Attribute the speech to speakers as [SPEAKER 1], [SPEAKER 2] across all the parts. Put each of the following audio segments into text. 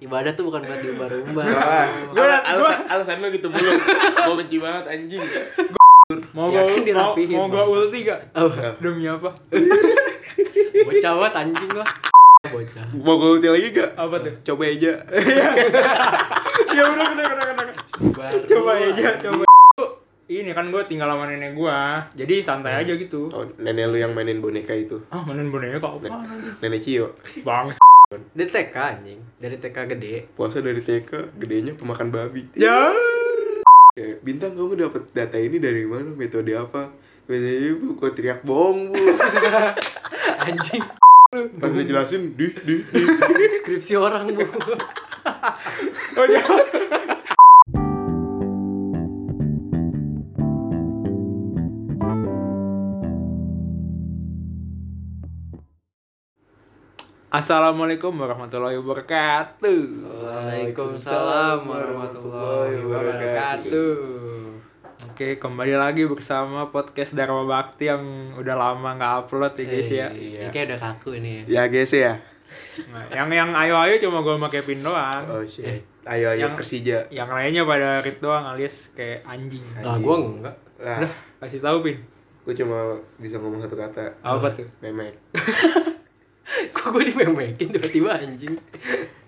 [SPEAKER 1] ibadah tuh bukan buat diumbar-umbar
[SPEAKER 2] Gue alasan, alasan lo gitu mulu. Gue benci banget anjing.
[SPEAKER 3] Mau
[SPEAKER 1] Ya,
[SPEAKER 3] gua
[SPEAKER 1] kan
[SPEAKER 3] mau,
[SPEAKER 1] dirapihin,
[SPEAKER 3] mau gua
[SPEAKER 1] maksud.
[SPEAKER 3] ulti gak?
[SPEAKER 1] oh,
[SPEAKER 3] Demi apa?
[SPEAKER 1] bocah banget anjing lah bocah
[SPEAKER 2] Mau gue ulti lagi gak?
[SPEAKER 3] Apa tuh?
[SPEAKER 2] Coba aja.
[SPEAKER 3] ya udah udah udah udah. udah.
[SPEAKER 1] Baru
[SPEAKER 3] Coba
[SPEAKER 1] lah.
[SPEAKER 3] aja, coba. Ini kan gua tinggal sama nenek gua. Jadi santai aja gitu.
[SPEAKER 2] Oh, nenek lu yang mainin boneka itu.
[SPEAKER 3] Ah, mainin boneka kok.
[SPEAKER 2] Nek- Nenek Cio.
[SPEAKER 3] Bang.
[SPEAKER 1] dari TK anjing dari TK gede
[SPEAKER 2] Puasa dari TK, gedenya pemakan babi.
[SPEAKER 3] Ya.
[SPEAKER 2] Ya, Bintang kamu dapat data ini dari mana? Metode apa? Metode bu, kok teriak bohong bu?
[SPEAKER 1] anjing
[SPEAKER 2] Pas dijelasin, di, di, di.
[SPEAKER 1] skripsi orang bu
[SPEAKER 3] Oh ya. Assalamualaikum warahmatullahi wabarakatuh.
[SPEAKER 1] Waalaikumsalam warahmatullahi wabarakatuh
[SPEAKER 3] Oke, kembali lagi bersama podcast Dharma Bakti yang udah lama nggak upload ya guys ya.
[SPEAKER 1] Iya, Ini kayak udah kaku ini ya
[SPEAKER 2] Ya guys ya.
[SPEAKER 3] Nah, yang yang ayo-ayo cuma gol make pin doang.
[SPEAKER 2] Oh shit. Ayo ayo
[SPEAKER 3] Yang-
[SPEAKER 2] Persija.
[SPEAKER 3] Yang lainnya pada rit doang alias kayak anjing.
[SPEAKER 1] Nah, gue enggak
[SPEAKER 2] Lah,
[SPEAKER 3] Kasih tahu pin.
[SPEAKER 2] gue cuma bisa ngomong satu kata.
[SPEAKER 3] Apa tuh?
[SPEAKER 2] Memek.
[SPEAKER 1] Kok gue dimemekin tiba-tiba anjing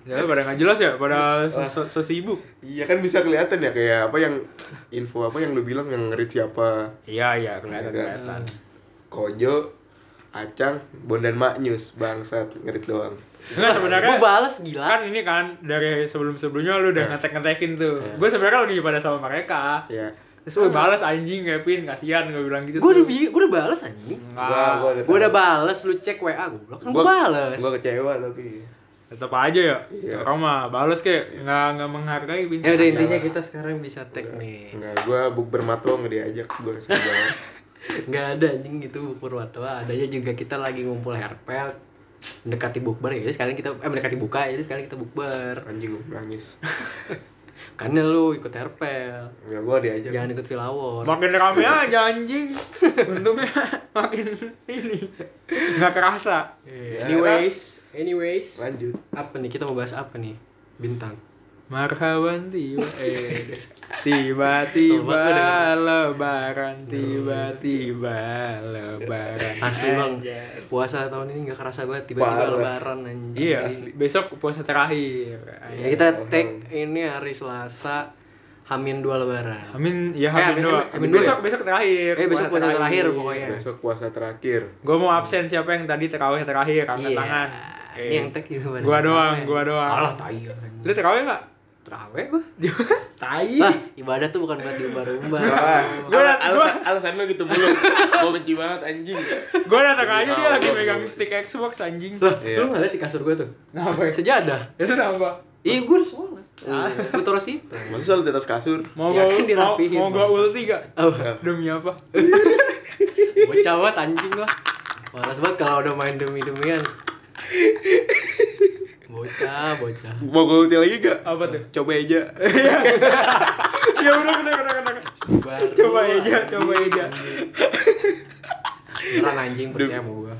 [SPEAKER 3] Ya pada nggak jelas ya, pada so, so, so sibuk.
[SPEAKER 2] Iya kan bisa kelihatan ya kayak apa yang info apa yang lu bilang yang ngerit siapa?
[SPEAKER 3] Iya iya kelihatan
[SPEAKER 2] Nggak.
[SPEAKER 3] kelihatan.
[SPEAKER 2] Kojo, Acang, Bondan Maknyus, bangsat ngerit doang.
[SPEAKER 3] Enggak
[SPEAKER 1] Gue
[SPEAKER 3] sebenarnya
[SPEAKER 1] balas gila
[SPEAKER 3] kan ini kan dari sebelum sebelumnya lu udah ngetek ngetekin tuh. Gue sebenarnya lagi pada sama mereka.
[SPEAKER 2] Ya.
[SPEAKER 3] Terus gue balas anjing Kevin kasihan gue bilang gitu.
[SPEAKER 1] Gue udah,
[SPEAKER 3] tuh.
[SPEAKER 1] bi- gua udah balas anjing
[SPEAKER 2] Gua
[SPEAKER 3] Enggak.
[SPEAKER 2] gua
[SPEAKER 1] Gue udah balas, lu cek WA gue Kan gue
[SPEAKER 2] Gua-
[SPEAKER 1] balas
[SPEAKER 2] Gua kecewa tapi.
[SPEAKER 3] Tetap aja ya.
[SPEAKER 2] Iya.
[SPEAKER 3] Orang mah balas kayak nggak nggak menghargai Pin.
[SPEAKER 1] Ya udah intinya kita sekarang bisa tag nih
[SPEAKER 2] Enggak, gua buk bermatwa nggak diajak, gua kesel banget.
[SPEAKER 1] Nggak ada anjing gitu bukber watwa Adanya juga kita lagi ngumpul herpel Mendekati bukber ya Jadi sekarang kita Eh mendekati buka ya Jadi sekarang kita bukber
[SPEAKER 2] Anjing gua nangis.
[SPEAKER 1] Karena lu ikut herpel
[SPEAKER 2] Enggak, gua diajak.
[SPEAKER 1] Jangan ikut Vilawon
[SPEAKER 3] Makin rame aja anjing. Untungnya makin ini nggak kerasa.
[SPEAKER 1] Eh, Anyways Anyways
[SPEAKER 2] Lanjut.
[SPEAKER 1] Apa nih kita mau bahas apa nih Bintang
[SPEAKER 3] Marhaban tiba eh
[SPEAKER 1] Kesel
[SPEAKER 3] tiba-tiba
[SPEAKER 1] banget gua denger.
[SPEAKER 3] lebaran tiba-tiba lebaran. Eh,
[SPEAKER 1] Asli bang Puasa tahun ini nggak kerasa banget Tiba-tiba
[SPEAKER 2] Parah.
[SPEAKER 1] lebaran anjing
[SPEAKER 3] Iya, besok puasa terakhir.
[SPEAKER 1] Ya kita tag ini hari Selasa Hamin dua lebaran
[SPEAKER 3] Amin
[SPEAKER 1] Eh,
[SPEAKER 3] ya amin
[SPEAKER 1] amin-
[SPEAKER 3] doa.
[SPEAKER 1] amin- amin
[SPEAKER 3] besok besok terakhir.
[SPEAKER 1] Eh besok puasa terakhir pokoknya.
[SPEAKER 2] Besok puasa terakhir.
[SPEAKER 3] Gue mau absen siapa yang tadi terawih terakhir angkat
[SPEAKER 1] Iya.
[SPEAKER 3] tangan. Eh.
[SPEAKER 1] Ini yang tag gitu badan.
[SPEAKER 3] Gua doang, gua doang.
[SPEAKER 1] Alah tai.
[SPEAKER 3] Lu terawih nggak?
[SPEAKER 1] Terawih gua.
[SPEAKER 3] tai.
[SPEAKER 1] Lah, ibadah tuh bukan buat diumbar-umbar.
[SPEAKER 2] Iya. Gua alasan alasan lu gitu mulu. Gua benci banget anjing.
[SPEAKER 3] Gue datang
[SPEAKER 1] Iya,
[SPEAKER 3] aja dia
[SPEAKER 2] Allah,
[SPEAKER 3] lagi
[SPEAKER 2] gua-
[SPEAKER 3] megang stick Xbox anjing.
[SPEAKER 1] Lah,
[SPEAKER 2] Iya.
[SPEAKER 1] lu enggak lihat di kasur gua tuh.
[SPEAKER 3] Kenapa? ya?
[SPEAKER 1] Sejadah.
[SPEAKER 3] Itu kenapa?
[SPEAKER 1] Ih, gua udah sholat. Gua taruh situ.
[SPEAKER 2] Masa selalu di atas kasur?
[SPEAKER 3] Mau
[SPEAKER 1] Ya
[SPEAKER 3] gua
[SPEAKER 1] kan
[SPEAKER 3] mau,
[SPEAKER 1] dirapihin,
[SPEAKER 3] mau gua
[SPEAKER 1] bangsa.
[SPEAKER 3] ulti gak?
[SPEAKER 1] Oh,
[SPEAKER 3] Demi apa?
[SPEAKER 1] bocah banget anjing lah. Malas banget kalau udah main demi-demian. Bocah, bocah.
[SPEAKER 2] Mau gua ulti lagi gak?
[SPEAKER 3] Apa tuh?
[SPEAKER 2] Coba aja.
[SPEAKER 3] ya udah udah udah udah. udah.
[SPEAKER 1] Baru
[SPEAKER 3] Coba aja, coba aja.
[SPEAKER 1] Beneran anjing percaya sama gua.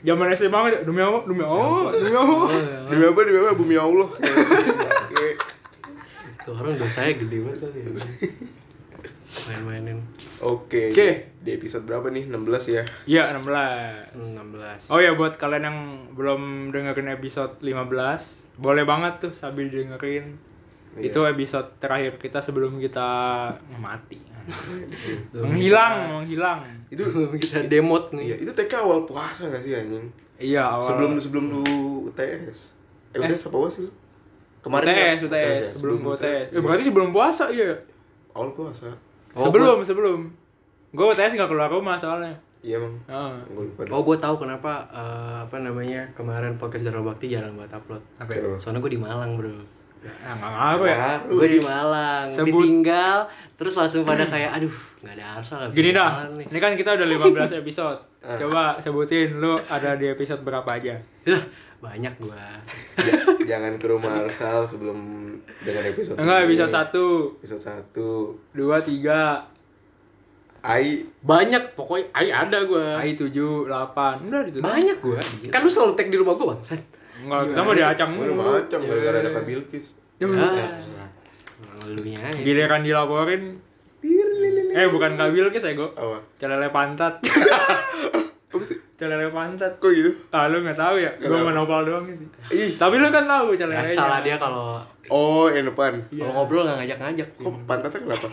[SPEAKER 3] Zaman SD banget ya. demi apa? Demi apa? Demi apa?
[SPEAKER 2] Demi apa? Demi apa? Bumi Allah. Oke.
[SPEAKER 1] Tuh orang dosanya gede banget soalnya. Main-mainin.
[SPEAKER 2] Oke.
[SPEAKER 3] Oke.
[SPEAKER 2] Di episode berapa nih? 16 ya.
[SPEAKER 3] Ya 16.
[SPEAKER 1] Hmm, 16.
[SPEAKER 3] Oh ya buat kalian yang belum dengerin episode 15, boleh banget tuh sambil dengerin.
[SPEAKER 2] Iya.
[SPEAKER 3] Itu episode terakhir kita sebelum kita mati. menghilang, menghilang.
[SPEAKER 2] Itu
[SPEAKER 1] kita demot nih.
[SPEAKER 2] iya, itu TK awal puasa gak sih anjing?
[SPEAKER 3] Iya, awal.
[SPEAKER 2] Sebelum sebelum lu UTS. Eh, UTS apa sih lu?
[SPEAKER 3] UTS,
[SPEAKER 2] kan?
[SPEAKER 3] UTS, Iya, sebelum gua UTS. Eh,
[SPEAKER 2] Iya,
[SPEAKER 3] berarti sebelum puasa iya.
[SPEAKER 2] Awal puasa.
[SPEAKER 1] Oh,
[SPEAKER 3] sebelum, sebelum. Gue UTS nggak keluar rumah soalnya.
[SPEAKER 2] Iya, Bang.
[SPEAKER 3] Heeh.
[SPEAKER 2] Gua lupa.
[SPEAKER 1] Oh gue tahu kenapa eh, apa namanya kemarin podcast Dharma Bakti jarang buat upload.
[SPEAKER 3] Apa ya?
[SPEAKER 2] Terus.
[SPEAKER 1] Soalnya gue di Malang bro.
[SPEAKER 3] Ya, nggak ngaruh ya.
[SPEAKER 2] Baru.
[SPEAKER 1] Gue di Malang.
[SPEAKER 3] Sebut.
[SPEAKER 1] Ditinggal terus langsung pada kayak aduh nggak ada arsal lah.
[SPEAKER 3] Gini
[SPEAKER 1] bisa
[SPEAKER 3] dah,
[SPEAKER 1] jalan nih.
[SPEAKER 3] ini kan kita udah 15 episode.
[SPEAKER 2] Ah.
[SPEAKER 3] Coba sebutin lu ada di episode berapa aja.
[SPEAKER 1] Lah, banyak gue.
[SPEAKER 2] Ja- Jangan ke rumah Arsal sebelum dengan episode
[SPEAKER 3] Enggak,
[SPEAKER 2] ini.
[SPEAKER 3] episode 1,
[SPEAKER 2] Episode 1.
[SPEAKER 3] 2, 3,
[SPEAKER 2] Ai
[SPEAKER 1] Banyak pokoknya. Ay ada gue.
[SPEAKER 3] AI 7, 8 Udah itu
[SPEAKER 1] Banyak gue. Kan lu selalu tag di rumah gue bang. San.
[SPEAKER 3] Enggak, kita mau diacang
[SPEAKER 2] Gue udah
[SPEAKER 3] mulu. Ya,
[SPEAKER 2] macam gara-gara ada Kak Bilkis.
[SPEAKER 1] Ya. Lalunya aja.
[SPEAKER 3] Giliran dilaporin. Eh bukan kabil kes ego.
[SPEAKER 2] Apa?
[SPEAKER 3] Celele pantat.
[SPEAKER 2] Apa sih?
[SPEAKER 3] Celele pantat.
[SPEAKER 2] Kok gitu?
[SPEAKER 3] Ah lu nggak tahu ya? Gue
[SPEAKER 2] tahu.
[SPEAKER 3] menopal doang sih.
[SPEAKER 2] Ih.
[SPEAKER 3] Tapi lu kan tahu celelenya.
[SPEAKER 1] Ya salah dia kalau
[SPEAKER 2] Oh, yang depan.
[SPEAKER 3] Hmm.
[SPEAKER 1] kalau ngobrol nggak ngajak-ngajak.
[SPEAKER 2] Kok pantatnya kenapa?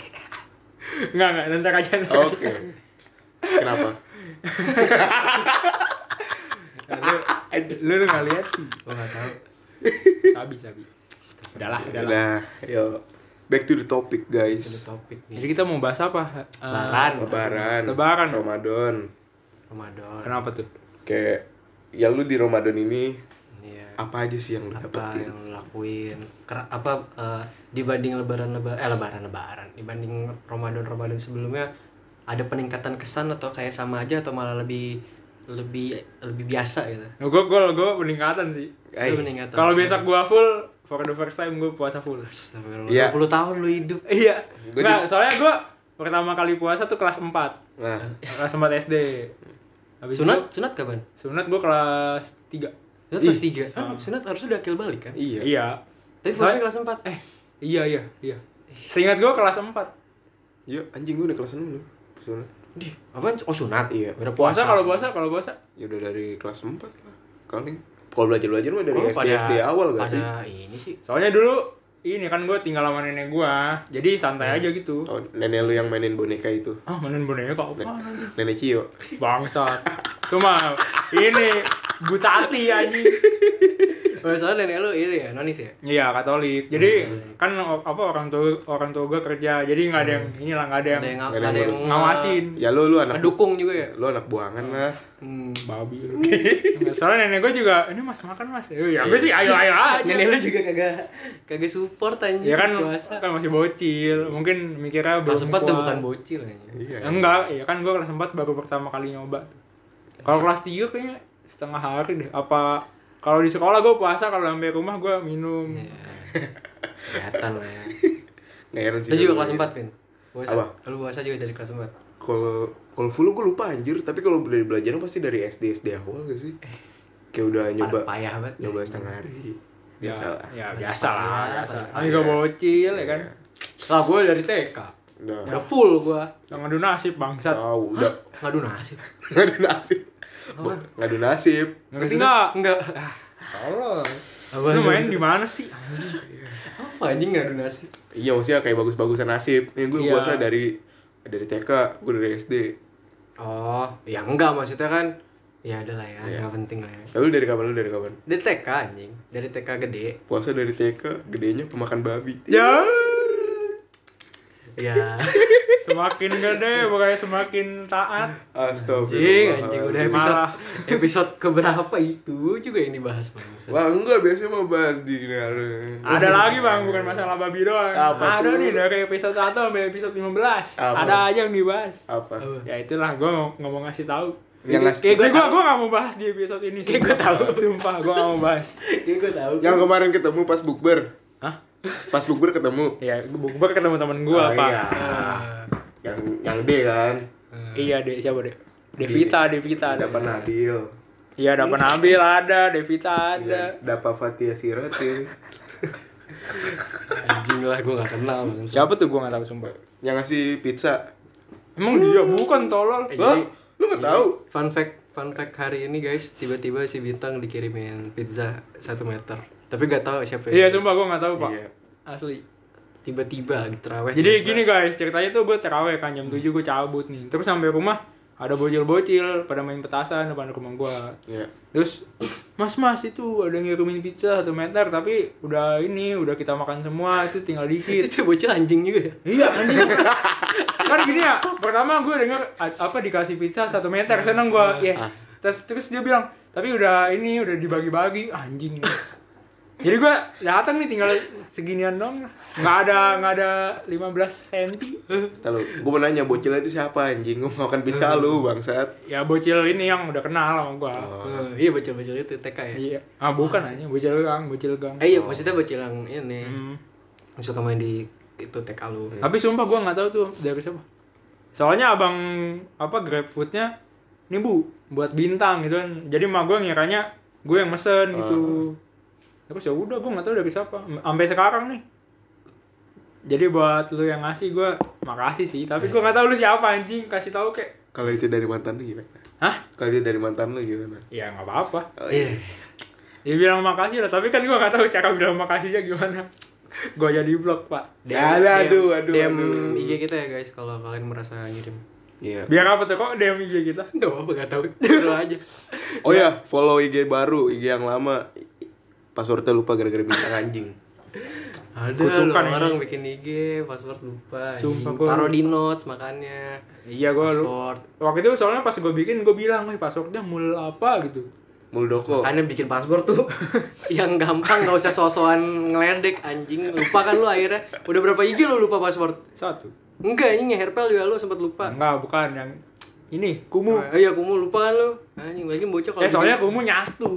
[SPEAKER 3] Enggak enggak nanti aja. ntar aja.
[SPEAKER 2] Oke. Kenapa?
[SPEAKER 3] Lu lu nggak lihat sih.
[SPEAKER 1] Gua nggak tahu.
[SPEAKER 3] Sabi sabi. Udahlah, udahlah.
[SPEAKER 2] Udah, yuk. Nah, Back to the topic,
[SPEAKER 1] Ada
[SPEAKER 2] guys.
[SPEAKER 1] topik nih.
[SPEAKER 3] Jadi kita mau bahas apa? Eh,
[SPEAKER 1] Lebaran.
[SPEAKER 2] Lebaran.
[SPEAKER 3] Lebaran.
[SPEAKER 2] Ramadan.
[SPEAKER 1] Ramadan.
[SPEAKER 3] Kenapa tuh?
[SPEAKER 2] Kayak ya lu di Ramadan ini
[SPEAKER 1] Iya.
[SPEAKER 2] apa aja sih yang lu
[SPEAKER 1] apa
[SPEAKER 2] dapetin?
[SPEAKER 1] yang lo lakuin Ker- apa eh, dibanding lebaran lebaran eh lebaran lebaran dibanding ramadan ramadan sebelumnya ada peningkatan kesan atau kayak sama aja atau malah lebih lebih lebih biasa gitu
[SPEAKER 3] Gue gue gue peningkatan sih.
[SPEAKER 1] itu
[SPEAKER 2] Eh,
[SPEAKER 1] peningkatan
[SPEAKER 3] Kalau besok gua full, for the first time gua puasa full.
[SPEAKER 1] Astagfirullah,
[SPEAKER 2] Iya.
[SPEAKER 1] 20 tahun lu hidup
[SPEAKER 3] Iya.
[SPEAKER 2] Gua
[SPEAKER 3] Nggak, soalnya gua pertama kali puasa tuh kelas 4.
[SPEAKER 2] nah,
[SPEAKER 3] Kelas 4 SD. Habis itu-
[SPEAKER 1] sunat sunat kapan
[SPEAKER 3] sunat gua kelas 3.
[SPEAKER 1] sunat kelas tiga
[SPEAKER 3] Ah.
[SPEAKER 1] Hah, sunat harusnya udah akil balik kan
[SPEAKER 2] iya.
[SPEAKER 3] Iya.
[SPEAKER 1] tapi puasa
[SPEAKER 3] Soalnya-
[SPEAKER 1] kelas empat eh
[SPEAKER 3] Iya, iya, iya. Seingat gua kelas 4.
[SPEAKER 2] Yuk, anjing gue udah kelas 6 loh. Pesona.
[SPEAKER 1] di apa oh sunat
[SPEAKER 2] Iya.
[SPEAKER 1] udah puasa,
[SPEAKER 3] Puasa kalau puasa, kalau puasa.
[SPEAKER 2] Ya udah dari kelas 4 lah. Paling kalau belajar-belajar mah dari
[SPEAKER 1] Oh,
[SPEAKER 2] SD
[SPEAKER 1] pada-
[SPEAKER 2] SD awal gak
[SPEAKER 1] pada
[SPEAKER 2] sih?
[SPEAKER 1] ini sih
[SPEAKER 3] Soalnya dulu ini kan gua tinggal sama nenek gua. Jadi santai aja gitu.
[SPEAKER 2] Oh, nenek lu yang mainin boneka itu.
[SPEAKER 1] Oh,
[SPEAKER 3] Ah, mainin boneka
[SPEAKER 2] Nen-
[SPEAKER 3] apa?
[SPEAKER 2] Nenek Cio.
[SPEAKER 3] Bangsat. Cuma ini butati anjing.
[SPEAKER 1] oh, soalnya nenek lu ini ya nonis ya
[SPEAKER 3] Iya Katolik. Jadi
[SPEAKER 1] iya.
[SPEAKER 3] kan o- apa orang tua orang tua gue kerja, jadi nggak ada yang inilah nggak ada yang
[SPEAKER 1] Iya. ada yang
[SPEAKER 2] Ada yang
[SPEAKER 1] ada yang
[SPEAKER 2] ngurus.
[SPEAKER 3] ngawasin.
[SPEAKER 2] Ya lu lu anak
[SPEAKER 1] mendukung juga ya
[SPEAKER 2] lu anak buangan lah.
[SPEAKER 1] Hmm.
[SPEAKER 3] Babi. lu. Soalnya nenek gue juga, ini mas makan mas. Eh, Ya gue sih ayo ayo
[SPEAKER 1] Iya.
[SPEAKER 3] aja.
[SPEAKER 1] Hmm. Nenek lu juga kagak kagak support anjing
[SPEAKER 3] Ya kan,
[SPEAKER 1] puasa.
[SPEAKER 3] kan masih bocil, mungkin mikirnya belum
[SPEAKER 1] Kelas 4 tuh
[SPEAKER 3] kuat.
[SPEAKER 1] bukan bocil anjing.
[SPEAKER 2] Iya.
[SPEAKER 3] Enggak, ya kan gue kelas 4 baru pertama kali nyoba. tuh. Kalau kelas 3 kayaknya setengah hari deh. Apa kalau di sekolah gue puasa, kalau sampai rumah gue minum.
[SPEAKER 1] Ya. Kelihatan lah ya.
[SPEAKER 2] Nggak heran sih.
[SPEAKER 1] Lu juga
[SPEAKER 2] kalau-
[SPEAKER 1] kelas 4, Pin. Puasa.
[SPEAKER 2] Apa?
[SPEAKER 1] Lu puasa juga dari kelas 4.
[SPEAKER 2] Kalau kalau full gue lupa anjir, tapi kalau dari belajar pasti dari SD SD awal gak sih?
[SPEAKER 3] Eh,
[SPEAKER 2] Kayak udah nyoba
[SPEAKER 1] payah banget.
[SPEAKER 2] nyoba setengah hari. Ya,
[SPEAKER 3] Ya,
[SPEAKER 2] salah.
[SPEAKER 3] ya biasa lah,
[SPEAKER 1] Parah,
[SPEAKER 3] biasa.
[SPEAKER 1] parah.
[SPEAKER 3] Kan juga bocil ya kan.
[SPEAKER 1] Lah gue dari TK.
[SPEAKER 2] Udah.
[SPEAKER 3] Ya.
[SPEAKER 1] Udah full gua.
[SPEAKER 3] Yang ngadu nasib bangsat.
[SPEAKER 2] Tahu, udah
[SPEAKER 1] Ngadu nasi.
[SPEAKER 2] ngadu nasib. Bo- Ngadu nasib.
[SPEAKER 3] Ngerti enggak?
[SPEAKER 1] Enggak.
[SPEAKER 3] Tolong.
[SPEAKER 1] Apa
[SPEAKER 3] Lu
[SPEAKER 1] lu?
[SPEAKER 3] main di mana sih?
[SPEAKER 1] Apa anjing ngadu nasi?
[SPEAKER 2] Iya, maksudnya kayak bagus-bagusan nasib. Yang gue
[SPEAKER 3] Iya.
[SPEAKER 2] puasa dari dari TK, gue dari SD.
[SPEAKER 1] Oh, ya enggak maksudnya kan ya adalah
[SPEAKER 2] Iya.
[SPEAKER 1] ya, enggak penting lah ya.
[SPEAKER 2] Lalu dari kapan lu dari kapan?
[SPEAKER 1] Dari TK anjing, dari TK gede.
[SPEAKER 2] Puasa dari TK, gedenya pemakan babi.
[SPEAKER 3] Ya.
[SPEAKER 1] Ya.
[SPEAKER 3] Semakin gede pokoknya semakin taat.
[SPEAKER 1] Anjing,
[SPEAKER 2] Astagfirullah.
[SPEAKER 1] Iya, anjing udah episode
[SPEAKER 3] Malah.
[SPEAKER 1] episode keberapa itu juga yang dibahas bangsa.
[SPEAKER 2] Wah, enggak biasanya mau bahas di
[SPEAKER 3] Ada lagi Bang, bukan masalah babi doang.
[SPEAKER 2] Iya. Apa
[SPEAKER 3] ada
[SPEAKER 2] tuh?
[SPEAKER 3] nih dari episode 1 sampai episode 15.
[SPEAKER 2] Apa?
[SPEAKER 3] Ada aja yang dibahas.
[SPEAKER 2] apa?
[SPEAKER 3] Ya itulah gua mau- nggak mau ngasih tahu.
[SPEAKER 2] Yang ngasih-
[SPEAKER 3] Kayak gua gua nggak mau bahas di episode ini.
[SPEAKER 1] Kayak gua tahu.
[SPEAKER 3] Sumpah, gua nggak mau bahas.
[SPEAKER 1] Kayak gue tahu.
[SPEAKER 3] Ya
[SPEAKER 2] Yang kemarin ketemu pas bukber.
[SPEAKER 3] Hah?
[SPEAKER 2] Pas bukber ketemu.
[SPEAKER 3] Ya, gua, gua ketemu temen
[SPEAKER 2] Oh,
[SPEAKER 3] gua, Pak.
[SPEAKER 2] iya. Yang yang D kan.
[SPEAKER 3] Iya, Dek, siapa, Dek? Devita, Devita ada.
[SPEAKER 2] Dapat Nabil. Iya,
[SPEAKER 3] Iya, ada Nabil ada, Devita ada.
[SPEAKER 2] Dapat Fatia Sirati.
[SPEAKER 1] Anjing lah gue gak kenal bangsa.
[SPEAKER 3] Siapa tuh gua nggak tahu sumpah.
[SPEAKER 2] yang ngasih pizza.
[SPEAKER 3] Emang dia bukan tolol.
[SPEAKER 1] Eh,
[SPEAKER 2] Lah,
[SPEAKER 1] jadi
[SPEAKER 2] lu nggak tahu?
[SPEAKER 1] fun fact fun fact hari ini guys tiba-tiba si bintang dikirimin pizza satu meter tapi gak tahu siapa
[SPEAKER 3] Iya,
[SPEAKER 1] yang
[SPEAKER 3] sumpah gua nggak tahu, Pak.
[SPEAKER 2] Iya.
[SPEAKER 3] Asli.
[SPEAKER 1] tiba-tiba lagi terawih
[SPEAKER 3] Jadi gini guys, ceritanya tuh gue terawih kan jam 7 gue cabut nih. Terus sampai rumah ada bocil-bocil pada main petasan depan rumah gue.
[SPEAKER 2] Iya.
[SPEAKER 3] Terus Mas mas itu ada yang ngirimin pizza satu meter tapi udah ini udah kita makan semua itu tinggal dikit.
[SPEAKER 1] itu bocil anjing juga ya?
[SPEAKER 3] iya anjing. kan gini ya pertama gue denger a- apa dikasih pizza satu meter seneng gue yes. Terus terus dia bilang tapi udah ini udah dibagi-bagi anjing. Jadi gue datang nih tinggal seginian dong. Nggak ada nggak ada 15 senti.
[SPEAKER 2] Tahu. Gue mau nanya bocilnya itu siapa anjing? Gue mau makan pizza lu, bangsat. Oh,
[SPEAKER 3] Ya bocil ini yang udah kenal sama gua.
[SPEAKER 1] Eh, iya bocil-bocil itu TK ya
[SPEAKER 3] Oh. Iya. Ah bukan aja bocil gang, bocil gang.
[SPEAKER 1] eh iya maksudnya bocil yang ini
[SPEAKER 3] Hmm.
[SPEAKER 1] yang suka main di itu TK lu
[SPEAKER 3] Tapi sumpah gua nggak tahu tuh dari siapa. Soalnya abang apa GrabFood-nya nih bu buat bintang gitu kan. Jadi mah gua ngiranya gue yang mesen gitu terus ya udah gue nggak tahu dari siapa sampai sekarang nih jadi buat lu yang ngasih gue makasih sih tapi gue nggak tahu lu siapa anjing kasih tahu kayak
[SPEAKER 2] Kalau itu dari mantan lu gimana?
[SPEAKER 3] hah
[SPEAKER 2] Kalau itu dari mantan lu gimana?
[SPEAKER 3] ya nggak apa-apa
[SPEAKER 2] Oh,
[SPEAKER 1] Iya.
[SPEAKER 3] ya bilang makasih lah tapi kan gue nggak tahu cara bilang makasihnya gimana gue jadi blok pak
[SPEAKER 2] Aduh, aduh, aduh,
[SPEAKER 1] DM
[SPEAKER 2] aduh.
[SPEAKER 1] IG
[SPEAKER 3] gitu.
[SPEAKER 1] kita ya guys kalau kalian merasa ngirim.
[SPEAKER 2] Iya.
[SPEAKER 3] biar apa tuh kok DM IG kita
[SPEAKER 1] Enggak apa-apa, enggak tahu. Terus aja.
[SPEAKER 2] Oh ya, follow IG baru, IG yang lama. Passwordnya lupa gara-gara bintang anjing.
[SPEAKER 1] Ada loh
[SPEAKER 3] Kutukan ini.
[SPEAKER 1] orang bikin IG, password lupa. anjing.
[SPEAKER 3] Sumpah, gua-
[SPEAKER 1] Taruh di notes makanya.
[SPEAKER 3] iya gue lu
[SPEAKER 1] Password.
[SPEAKER 3] waktu itu soalnya pas gue bikin gue bilang nih passwordnya mul apa gitu
[SPEAKER 2] Muldoko.
[SPEAKER 1] Makanya bikin password tuh yang gampang nggak usah sosokan ngeledek anjing. Lupa kan lu akhirnya. Udah berapa IG lu lupa password?
[SPEAKER 3] satu
[SPEAKER 1] Enggak, ini hairpel juga lu sempat lupa.
[SPEAKER 3] enggak bukan yang ini kumu
[SPEAKER 1] Oh, iya, kumu lupa kan lu. Anjing lagi bocah kalau
[SPEAKER 3] eh soalnya
[SPEAKER 1] bikin-
[SPEAKER 3] kumu nyatu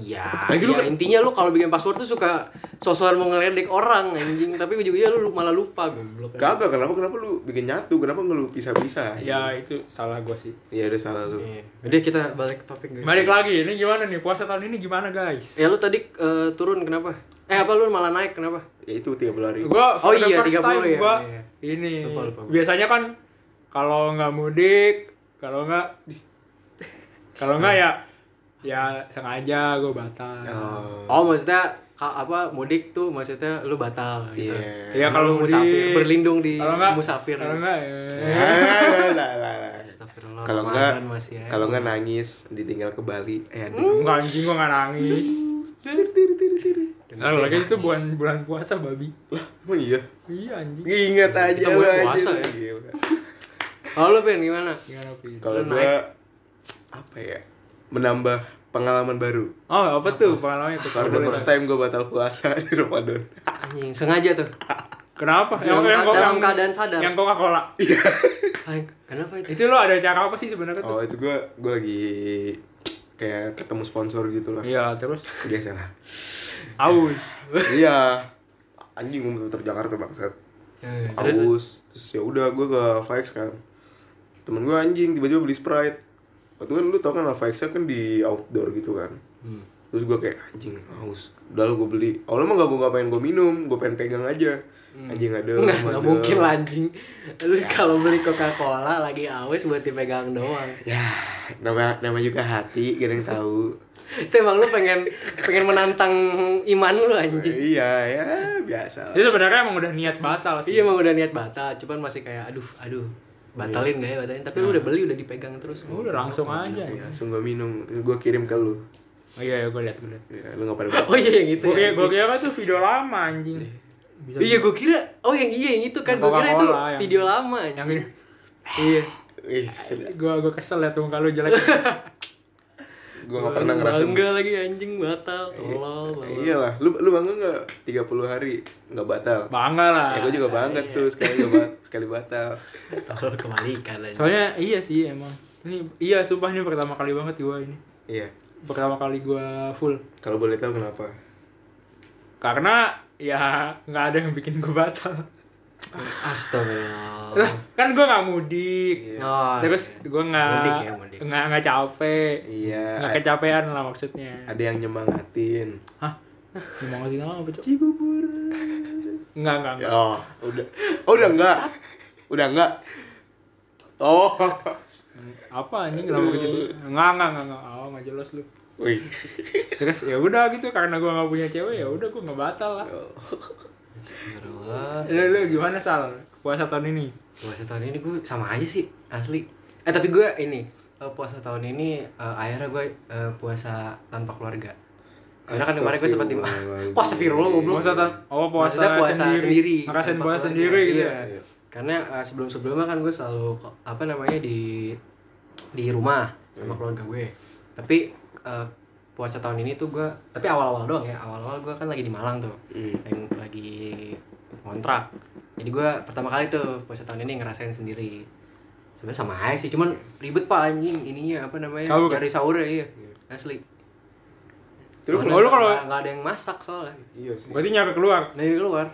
[SPEAKER 1] Iya.
[SPEAKER 2] Lagi Nah, lu kan-
[SPEAKER 1] iya, intinya lu kalau bikin password tuh suka sosokan mau ngeledek orang anjing, tapi ujung-ujungnya lu malah lupa goblok.
[SPEAKER 2] Kagak, kenapa kenapa lu bikin nyatu? Kenapa nggak lu pisah-pisah?
[SPEAKER 3] ya itu salah gue sih
[SPEAKER 2] Ya udah salah lu.
[SPEAKER 1] Iya. Udah kita balik ke topik guys.
[SPEAKER 3] balik lagi ini gimana nih puasa tahun ini gimana guys
[SPEAKER 1] Ya lu tadi eh, turun kenapa? Eh apa lu malah naik kenapa?
[SPEAKER 2] Ya itu 30 hari.
[SPEAKER 3] gue
[SPEAKER 1] Oh iya, 30 ya,
[SPEAKER 3] gue
[SPEAKER 1] iya.
[SPEAKER 3] ini
[SPEAKER 1] Lupa, lupa, lupa.
[SPEAKER 3] biasanya kan kalau nggak mudik kalau nggak kalau nggak ya ya sengaja gue batal
[SPEAKER 2] Oh,
[SPEAKER 1] Oh maksudnya ka- apa mudik tuh maksudnya lu batal gitu.
[SPEAKER 2] Iya.
[SPEAKER 3] ya kalau
[SPEAKER 1] Lu
[SPEAKER 3] mudik
[SPEAKER 1] musafir, berlindung di
[SPEAKER 3] kalau nggak-
[SPEAKER 1] musafir.
[SPEAKER 3] kalau nggak ya.
[SPEAKER 2] Lah, lah, lah, lah.
[SPEAKER 1] Astagfirullah,
[SPEAKER 2] Kalau
[SPEAKER 1] Ramadan
[SPEAKER 2] enggak
[SPEAKER 1] masih ya. Hmm?
[SPEAKER 2] kalau enggak nangis ditinggal ke Bali. Eh, aduh.
[SPEAKER 3] nggak anjing gue nggak nangis
[SPEAKER 2] Tiri, tiri, tiri, tiri.
[SPEAKER 3] Lalu lagi itu bulan bulan puasa babi
[SPEAKER 2] Lah, emang iya.
[SPEAKER 3] iya anjing
[SPEAKER 2] Ingat aja
[SPEAKER 1] Kita
[SPEAKER 2] lu
[SPEAKER 1] bulan
[SPEAKER 2] aja.
[SPEAKER 1] puasa
[SPEAKER 2] lu.
[SPEAKER 1] ya.
[SPEAKER 2] Gila.
[SPEAKER 1] Kalau Oh, lu pengen gimana?
[SPEAKER 3] gimana Pin?
[SPEAKER 2] Kalau
[SPEAKER 1] Lu
[SPEAKER 2] gua apa ya? Menambah pengalaman baru.
[SPEAKER 3] oh apa tuh pengalamannya tuh
[SPEAKER 2] For the first time gue batal puasa di Ramadan.
[SPEAKER 1] Anjing, sengaja tuh.
[SPEAKER 3] kenapa
[SPEAKER 1] Dalam-
[SPEAKER 3] kok-
[SPEAKER 1] dalam keadaan sadar.
[SPEAKER 3] yang coca cola
[SPEAKER 1] Ay, kenapa itu?
[SPEAKER 3] itu lo ada cara apa sih sebenarnya tuh
[SPEAKER 2] Oh, itu gue gue lagi kayak ketemu sponsor gitu lah.
[SPEAKER 3] iya terus
[SPEAKER 2] Biasa lah.
[SPEAKER 3] aus
[SPEAKER 2] iya. Anjing gue muter Jakarta bangsat.
[SPEAKER 1] Eh, terus
[SPEAKER 2] Aus. Terus ya udah gue ke Flex kan. Temen gue anjing tiba-tiba beli Sprite. Waktu kan lu tau kan Flex kan di outdoor gitu kan.
[SPEAKER 1] Hmm.
[SPEAKER 2] Terus gue kayak anjing haus. Udah lu gue beli. Awalnya mah gak gue gak pengen gue minum, gue pengen pegang aja. Anjing ada.
[SPEAKER 1] Hmm. Nggak, nggak mungkin lah anjing. Lu kalau beli Coca-Cola lagi awes buat dipegang doang.
[SPEAKER 2] Ya, nama nama juga hati, gak ada yang tahu.
[SPEAKER 1] Itu emang lu pengen pengen menantang iman lu anjing.
[SPEAKER 2] iya ya biasa lah.
[SPEAKER 3] itu sebenarnya emang udah niat batal sih
[SPEAKER 1] Iya emang udah niat batal, cuman masih kayak aduh, aduh. Batalin gak ya batalin, tapi lu udah beli udah dipegang terus.
[SPEAKER 3] Iya.
[SPEAKER 2] Iya.
[SPEAKER 3] Oh, udah langsung aja
[SPEAKER 2] Ya, langsung gue minum, gue kirim ke lu.
[SPEAKER 3] oh iya iya gue liat gue liat
[SPEAKER 2] Ya, lu gak pada
[SPEAKER 1] Oh iya yang itu.
[SPEAKER 3] gue
[SPEAKER 1] ya.
[SPEAKER 3] kira gue kira kan tuh video lama anjing Bisa-
[SPEAKER 1] Iya gue kira, oh yang iya yang itu kan
[SPEAKER 3] Yang
[SPEAKER 1] gue kira itu
[SPEAKER 3] Coca-Cola, yang-
[SPEAKER 1] video lama
[SPEAKER 3] yang
[SPEAKER 1] anjing.
[SPEAKER 3] ini
[SPEAKER 1] Iya.
[SPEAKER 2] Ih, sedap.
[SPEAKER 3] gue gue kesel liat muka lu jelek
[SPEAKER 2] Gue gak pernah ngerasain.
[SPEAKER 1] Bangga lagi anjing batal, tolol.
[SPEAKER 2] Nah, iyalah, lu lu bangga nggak 30 hari nggak batal?
[SPEAKER 3] bangga lah
[SPEAKER 2] Ya gue juga bangga tuh sekali gak bat, sekali batal.
[SPEAKER 1] Tolol kebalikan anjing.
[SPEAKER 3] soalnya iya sih emang ini iya sumpah ini pertama kali banget gue ini
[SPEAKER 2] Iya.
[SPEAKER 3] pertama kali gue full
[SPEAKER 2] Kalau boleh tahu kenapa?
[SPEAKER 3] karena ya nggak ada yang bikin gue batal
[SPEAKER 1] Astagfirullah.
[SPEAKER 3] Lah, kan gue nggak mudik
[SPEAKER 1] Oh,
[SPEAKER 3] terus gue
[SPEAKER 1] Mudik
[SPEAKER 3] nggak
[SPEAKER 1] ya, mudik.
[SPEAKER 3] nggak nggak capek
[SPEAKER 2] Iya.
[SPEAKER 3] nggak
[SPEAKER 2] a-
[SPEAKER 3] kecapean lah maksudnya
[SPEAKER 2] Ada yang nyemangatin.
[SPEAKER 3] hah gimana sih nama apa cok
[SPEAKER 2] Cibubur.
[SPEAKER 3] nggak nggak nggak
[SPEAKER 2] Oh, udah. Oh, udah enggak. Udah enggak. Oh.
[SPEAKER 3] apa anjing kenapa gitu nggak nggak nggak nggak oh nggak jelas lu
[SPEAKER 2] Wih.
[SPEAKER 3] terus ya udah gitu karena gue nggak punya cewek ya udah gue nggak batal lah
[SPEAKER 1] Astagfirullah.
[SPEAKER 3] lu, lu gimana sal puasa tahun ini
[SPEAKER 1] Puasa tahun ini gue sama aja sih asli. Eh tapi gue ini eh, puasa tahun ini eh, akhirnya gue eh, puasa tanpa keluarga. Karena kan kemarin gue sempat tim
[SPEAKER 2] Astagfirullahaladzim.
[SPEAKER 1] puasa viral goblok.
[SPEAKER 3] puasa tahun oh puasa,
[SPEAKER 1] Maksudnya
[SPEAKER 3] sendiri, ngerasain
[SPEAKER 1] tanpa
[SPEAKER 3] puasa
[SPEAKER 1] keluarga.
[SPEAKER 3] sendiri gitu
[SPEAKER 1] Iya.
[SPEAKER 3] ya
[SPEAKER 1] Karena eh, sebelum-sebelumnya kan gue selalu ko- apa namanya di di rumah
[SPEAKER 3] Iya.
[SPEAKER 1] sama keluarga gue. Tapi eh, puasa tahun ini tuh gue tapi awal-awal doang ya. Awal-awal gue kan lagi di Malang tuh.
[SPEAKER 3] Iya.
[SPEAKER 2] Hmm.
[SPEAKER 1] Yang lagi kontrak. Jadi gue pertama kali tuh puasa tahun ini ngerasain sendiri. Sebenarnya sama aja sih, cuman ribet pak anjing ininya apa namanya
[SPEAKER 3] Tahu kan?
[SPEAKER 1] cari sahurnya iya asli.
[SPEAKER 2] Terus
[SPEAKER 1] Soalnya
[SPEAKER 3] kalau lu kalau-
[SPEAKER 1] nggak- nggak ada yang masak soalnya
[SPEAKER 2] Iya sih.
[SPEAKER 3] berarti nyari keluar
[SPEAKER 1] dari luar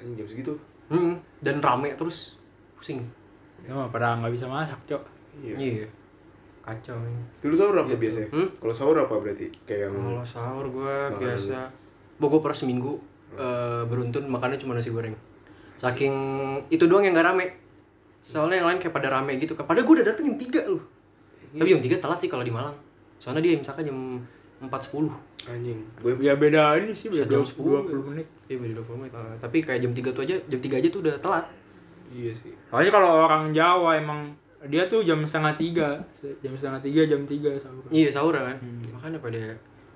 [SPEAKER 2] Anjing jam segitu.
[SPEAKER 1] Hmm, dan rame terus pusing.
[SPEAKER 3] ya mah pada nggak bisa masak cok
[SPEAKER 2] Iya.
[SPEAKER 1] Iya. kacau ini.
[SPEAKER 2] Dulu sahur apa biasanya?
[SPEAKER 1] Hmm?
[SPEAKER 2] Kalau sahur apa berarti? Kayak yang
[SPEAKER 1] Kalau sahur gue
[SPEAKER 2] Makan
[SPEAKER 1] biasa, Bo, gue pernah seminggu eh, beruntun makannya cuma nasi goreng. Saking itu doang yang gak rame. Soalnya yang lain kayak pada rame gitu kan. Padahal gue udah dateng jam 3 loh. Tapi jam 3 telat sih kalau di Malang. Soalnya dia misalkan jam 4.10.
[SPEAKER 2] anjing. Gue
[SPEAKER 3] Ya beda ini sih beda
[SPEAKER 1] Sejam
[SPEAKER 3] 20
[SPEAKER 1] sepuluh.
[SPEAKER 3] menit.
[SPEAKER 1] Iya, beda 20 menit. Ah, tapi kayak jam 3 tuh aja, jam 3 aja tuh udah telat.
[SPEAKER 2] iya sih.
[SPEAKER 3] Soalnya kalau orang Jawa emang dia tuh jam setengah tiga, Se- jam setengah tiga, jam tiga sahur.
[SPEAKER 1] Iya, sahur kan. Makanya pada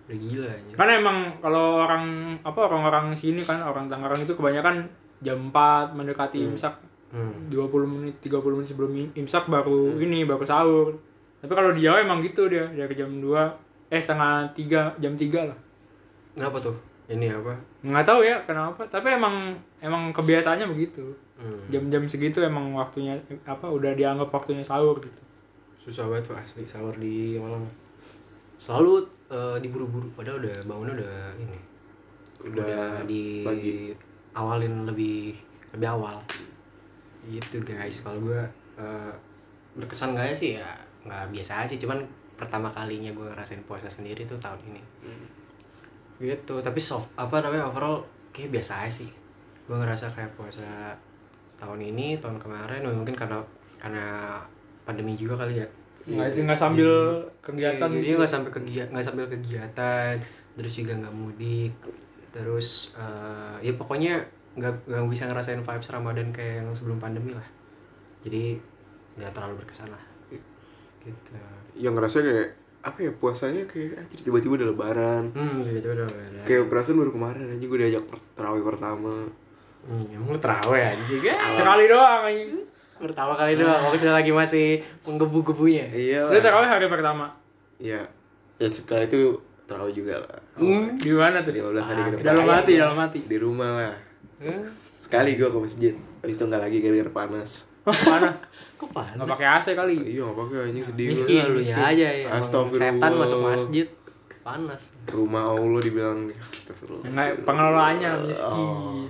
[SPEAKER 1] udah gila anjir.
[SPEAKER 3] Karena Kan emang kalau orang apa orang-orang sini kan orang Tangerang itu kebanyakan jam 4 mendekati imsak.
[SPEAKER 1] Hmm.
[SPEAKER 3] 20 menit, 30 menit sebelum im- imsak baru ini baru sahur. Tapi kalau di Jawa emang gitu dia, dari jam 2 eh setengah 3, jam 3 lah.
[SPEAKER 1] Kenapa tuh? Ini apa?
[SPEAKER 3] Nggak tahu ya kenapa, tapi emang emang kebiasaannya begitu.
[SPEAKER 1] Hmm.
[SPEAKER 3] Jam-jam segitu emang waktunya apa udah dianggap waktunya sahur gitu.
[SPEAKER 1] Susah banget Pak asli sahur di Malang. Selalu eh, diburu-buru padahal udah bangunnya udah ini.
[SPEAKER 2] Udah
[SPEAKER 1] di
[SPEAKER 2] pagi.
[SPEAKER 1] awalin lebih lebih awal. Gitu guys, kalau gua eh, berkesan gak ya sih ya nggak biasa aja cuman pertama kalinya gua ngerasain puasa sendiri tuh tahun ini. Gitu, tapi soft apa namanya overall kayak biasa aja sih. Gua ngerasa kayak puasa tahun ini, tahun kemarin mungkin karena karena pandemi juga kali ya.
[SPEAKER 3] Nggak, nggak sambil kegiatan
[SPEAKER 1] Iya, jadi
[SPEAKER 3] gitu.
[SPEAKER 1] nggak sampai kegiatan nggak sambil kegiatan terus juga nggak mudik terus eh, ya pokoknya nggak nggak bisa ngerasain vibes ramadan kayak yang sebelum pandemi lah jadi nggak terlalu berkesan lah gitu
[SPEAKER 2] Yang ngerasa kayak apa ya puasanya kayak anjir tiba-tiba udah lebaran.
[SPEAKER 1] hmm gitu udah ada
[SPEAKER 2] Kayak perasaan baru kemarin aja gue diajak per- terawih pertama.
[SPEAKER 1] hmm, emang lu terawih anjing Ah. ya
[SPEAKER 2] Iya.
[SPEAKER 3] Sekali doang anjing.
[SPEAKER 1] pertama kali doang waktu lagi masih menggebu-gebunya
[SPEAKER 2] Iya.
[SPEAKER 3] Lu terawih hari pertama.
[SPEAKER 2] Iya. Ya setelah itu terawih juga lah.
[SPEAKER 1] Hmm.
[SPEAKER 3] Di mana tuh?
[SPEAKER 1] Iya.
[SPEAKER 2] 15 hari ke depan.
[SPEAKER 3] Dalam hati, dalam hati.
[SPEAKER 2] Di rumah lah.
[SPEAKER 1] Hah?
[SPEAKER 2] Sekali gue ke masjid. Habis itu nggak lagi gara-gara panas.
[SPEAKER 3] Panas.
[SPEAKER 1] kok panas
[SPEAKER 3] Nggak pakai AC kali.
[SPEAKER 2] Iya nggak pakai anjing sedih. gua.
[SPEAKER 1] miskin lu aja ya emang
[SPEAKER 2] Astagfirullah.
[SPEAKER 1] setan masuk masjid panas
[SPEAKER 2] Rumah Allah dibilang ya, astagfirullah.
[SPEAKER 3] Nggak, pengelolaannya
[SPEAKER 1] Oh.
[SPEAKER 3] miskin.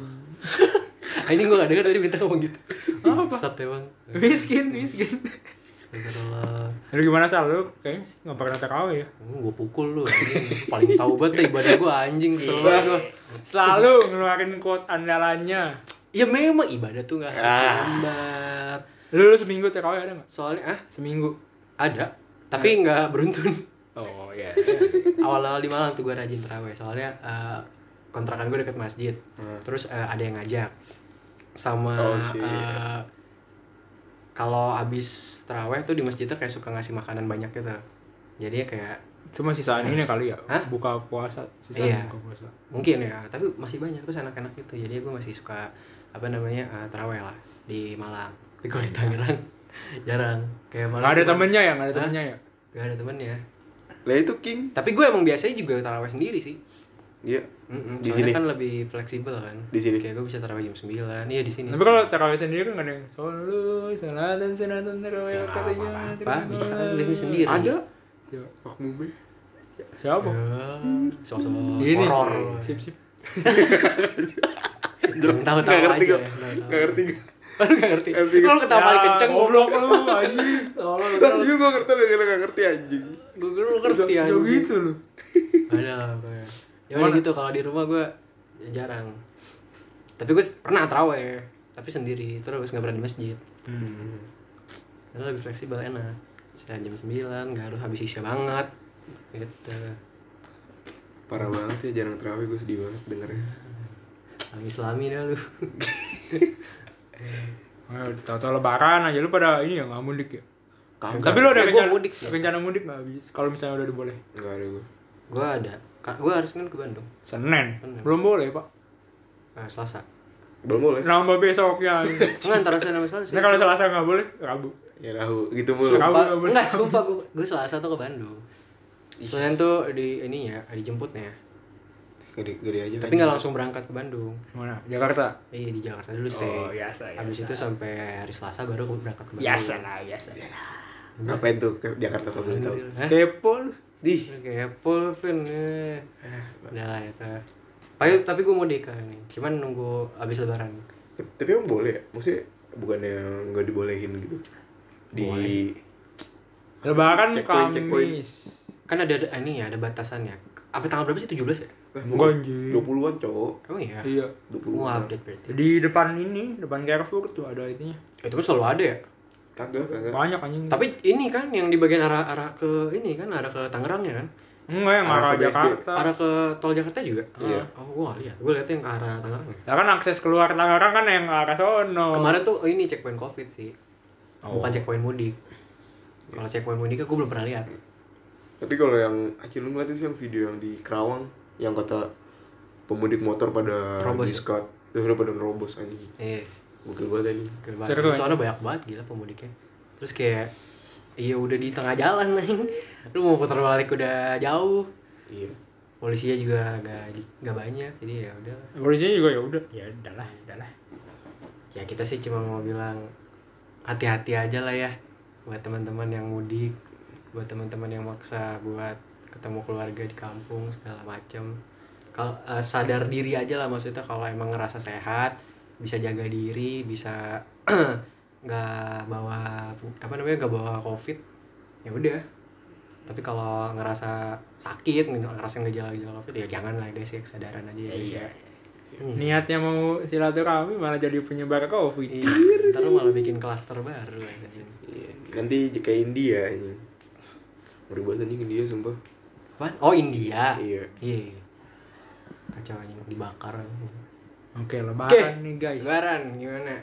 [SPEAKER 1] Anjing gue gak denger tadi minta ngomong gitu Apa? Sat emang
[SPEAKER 3] Miskin, miskin.
[SPEAKER 1] Astagfirullah
[SPEAKER 3] Lu gimana sal lu? Kayaknya sih nggak pernah terawih ya.
[SPEAKER 1] Gue Hmm, pukul lu anjing Paling tahu banget deh ibadah gue anjing Kesel banget gue
[SPEAKER 3] Selalu ngeluarin quote andalannya.
[SPEAKER 1] Ya memang ibadah tuh gak harus gambar
[SPEAKER 3] Lu, lu seminggu terawih ada nggak?
[SPEAKER 1] Soalnya ah
[SPEAKER 3] Seminggu.
[SPEAKER 1] ada Tapi gak beruntun
[SPEAKER 3] Oh iya.
[SPEAKER 1] Awal-awal di Malang tuh gue rajin terawih Soalnya eh, kontrakan gue deket masjid Terus eh, ada yang ngajak Sama
[SPEAKER 2] Oh, shit.
[SPEAKER 1] eh, kalau abis terawih tuh di masjid tuh kayak suka ngasih makanan banyak gitu Jadi kayak
[SPEAKER 3] Cuma sisaan ini kali ya.
[SPEAKER 1] Hah?
[SPEAKER 3] Buka puasa, sisaan
[SPEAKER 1] Iya.
[SPEAKER 3] buka puasa.
[SPEAKER 1] mungkin ya tapi masih banyak terus anak-anak gitu jadi gue masih suka apa namanya eh, terawih lah di Malang tapi kalau di
[SPEAKER 2] Iya.
[SPEAKER 1] Tangerang jarang kayak
[SPEAKER 3] Nggak ada
[SPEAKER 1] temen
[SPEAKER 3] temennya ya, nggak ada temennya ya.
[SPEAKER 1] gak ada temen ya
[SPEAKER 2] Lah itu King.
[SPEAKER 1] tapi gue emang biasanya juga terawih sendiri sih
[SPEAKER 2] Iya.
[SPEAKER 1] Mm-mm,
[SPEAKER 2] Di
[SPEAKER 1] soalnya
[SPEAKER 2] sini?
[SPEAKER 1] kan lebih fleksibel kan
[SPEAKER 2] Di sini?
[SPEAKER 1] kayak gue bisa terawih jam 9 iya di sini
[SPEAKER 3] Tapi kalau terawih sendiri kan nggak ada yang Solu, salatan, salatan, terawih,
[SPEAKER 1] Ya, nggak
[SPEAKER 3] katanya
[SPEAKER 1] apa-apa bisa kan lebih sendiri
[SPEAKER 2] Ada.
[SPEAKER 1] iya.
[SPEAKER 3] Coba.
[SPEAKER 2] Makmumnya.
[SPEAKER 3] Siapa?
[SPEAKER 1] sosok
[SPEAKER 3] Ini.
[SPEAKER 1] Eh, horor
[SPEAKER 3] Sip, sip.
[SPEAKER 1] Yang tahu-tahu
[SPEAKER 2] Nggak ngerti
[SPEAKER 1] aja
[SPEAKER 2] kok.
[SPEAKER 1] ya, tahu-tahu.
[SPEAKER 2] Nggak ngerti gue.
[SPEAKER 1] Aduh gak ngerti
[SPEAKER 2] Ngerti.
[SPEAKER 1] Lu ketawa paling
[SPEAKER 3] Ya,
[SPEAKER 1] kenceng
[SPEAKER 3] Goblok lu, anjing.
[SPEAKER 1] Oh,
[SPEAKER 3] Kan Tolol.
[SPEAKER 2] Tapi gue ngerti gara-gara nggak ngerti anjing.
[SPEAKER 1] Gue lu ngerti
[SPEAKER 3] Jauh- jauh
[SPEAKER 1] Ya, anjing.
[SPEAKER 3] gitu lu.
[SPEAKER 1] ada kayak ya udah gitu kalau di rumah gue jarang tapi gue pernah terawih tapi sendiri terus nggak pernah di masjid
[SPEAKER 2] Hmm.
[SPEAKER 1] karena lebih fleksibel enak bisa jam 9, nggak harus habis isya banget gitu
[SPEAKER 2] Parah banget ya jarang terawih gue sedih banget dengernya.
[SPEAKER 1] Alam islami dah lu
[SPEAKER 3] Eh, Tahu-tahu lebaran aja lu pada ini ya nggak mudik ya.
[SPEAKER 2] Kagak.
[SPEAKER 3] Tapi lu ada
[SPEAKER 1] Ya, gua
[SPEAKER 3] rencana
[SPEAKER 1] mudik
[SPEAKER 3] mudik
[SPEAKER 1] sih.
[SPEAKER 3] Rencana mudik nggak habis. Kalau misalnya udah boleh.
[SPEAKER 2] Nggak ada gue.
[SPEAKER 1] gue ada gue harus kan ke Bandung
[SPEAKER 3] Senin.
[SPEAKER 1] Senin.
[SPEAKER 3] Belum boleh, Pak.
[SPEAKER 1] nah, Selasa
[SPEAKER 2] Belum boleh.
[SPEAKER 3] Nambah besoknya.
[SPEAKER 1] nggak antara Senin sama Selasa
[SPEAKER 3] Nah, kalau Selasa nggak boleh, Rabu.
[SPEAKER 2] Ya tahu gitu mulu.
[SPEAKER 3] Suka. Kamu
[SPEAKER 1] Sumpah,
[SPEAKER 3] nggak boleh.
[SPEAKER 1] enggak sumpah gue gue Selasa tuh ke Bandung Senin tuh di ininya dijemputnya
[SPEAKER 2] Gede, gede aja.
[SPEAKER 1] tapi nggak langsung berangkat ke Bandung
[SPEAKER 3] Mana? Jakarta.
[SPEAKER 1] Iya di Jakarta dulu stay.
[SPEAKER 3] Oh, biasa,
[SPEAKER 1] Habis
[SPEAKER 3] biasa.
[SPEAKER 1] itu sampai hari Selasa baru aku berangkat ke Bandung.
[SPEAKER 3] Biasa nah, lah, biasa.
[SPEAKER 2] Ngapain tuh ke Jakarta kalau boleh tahu?
[SPEAKER 1] Hah?
[SPEAKER 3] Kepo lu.
[SPEAKER 2] Di.
[SPEAKER 1] Kayak pulpen. eh. Udah lah itu. Tapi, tapi gue mau nikah nih. Cuman nunggu abis lebaran.
[SPEAKER 2] Tapi emang boleh ya? Maksudnya bukannya nggak dibolehin gitu? Di
[SPEAKER 3] Lebaran
[SPEAKER 2] Checkpoint, checkpoint.
[SPEAKER 3] Kamis.
[SPEAKER 1] Kan ada, ada ini ya, ada batasannya. Apa tanggal berapa sih? 17 ya?
[SPEAKER 3] Enggak, anjing.
[SPEAKER 2] 20-an cowok.
[SPEAKER 1] Emang iya?
[SPEAKER 3] Iya.
[SPEAKER 2] 20-an.
[SPEAKER 1] Wah, update berarti.
[SPEAKER 3] Di depan ini, depan Carrefour tuh ada itunya.
[SPEAKER 1] Itu kan selalu ada ya?
[SPEAKER 2] Kagak, kagak.
[SPEAKER 3] Banyak anjing.
[SPEAKER 1] Eh. Tapi ini kan yang di bagian arah arah ke ini kan arah ke Tangerang ya kan?
[SPEAKER 3] enggak yang
[SPEAKER 2] Arah
[SPEAKER 3] arah
[SPEAKER 2] ke BSD.
[SPEAKER 3] Jakarta.
[SPEAKER 1] Arah ke tol Jakarta juga.
[SPEAKER 2] Iya.
[SPEAKER 1] Oh, gua lihat. Gua lihat yang ke arah Tangerang. ya.
[SPEAKER 3] Ya kan akses keluar Tangerang kan yang arah sono.
[SPEAKER 1] Kemarin tuh ini checkpoint Covid sih. Bukan checkpoint mudik. Kalau checkpoint mudik gua belum pernah lihat.
[SPEAKER 2] Tapi kalau yang anjing lu ngeliat sih yang video yang di Kerawang yang kata pemudik motor pada
[SPEAKER 1] Terobos ya?
[SPEAKER 2] diskat, udah pada nerobos anjing.
[SPEAKER 1] Eh,
[SPEAKER 2] Gokil banget anjing.
[SPEAKER 1] gila
[SPEAKER 3] Seru,
[SPEAKER 1] banget. Soalnya banyak banget gila pemudiknya. Terus kayak iya udah di tengah jalan nih. Lu mau putar balik udah jauh.
[SPEAKER 2] Iya.
[SPEAKER 1] Polisinya juga nggak di- nggak banyak. Jadi ya udah.
[SPEAKER 3] Polisinya juga ya udah. Ya udahlah, udahlah.
[SPEAKER 1] Ya kita sih cuma mau bilang hati-hati aja lah ya buat teman-teman yang mudik, buat teman-teman yang maksa buat ketemu keluarga di kampung segala macem. Kalau eh, sadar diri aja lah maksudnya kalau emang ngerasa sehat bisa jaga diri, bisa nggak bawa apa namanya nggak bawa covid ya udah tapi kalau ngerasa sakit ngerasa gejala-gejala covid ya jangan lah guys ya kesadaran aja ya guys ya
[SPEAKER 3] Niatnya mau silaturahmi malah jadi penyebar Covid.
[SPEAKER 1] Iya, ntar lu malah bikin klaster baru anjing.
[SPEAKER 2] Iya. Nanti kayak India anjing. Meribet anjing India sumpah.
[SPEAKER 1] Apaan? Oh India.
[SPEAKER 2] Iya.
[SPEAKER 1] Iya. Kacau anjing dibakar. anjing.
[SPEAKER 3] Oke,
[SPEAKER 1] Oke.
[SPEAKER 3] lebaran nih guys.
[SPEAKER 1] Lebaran gimana?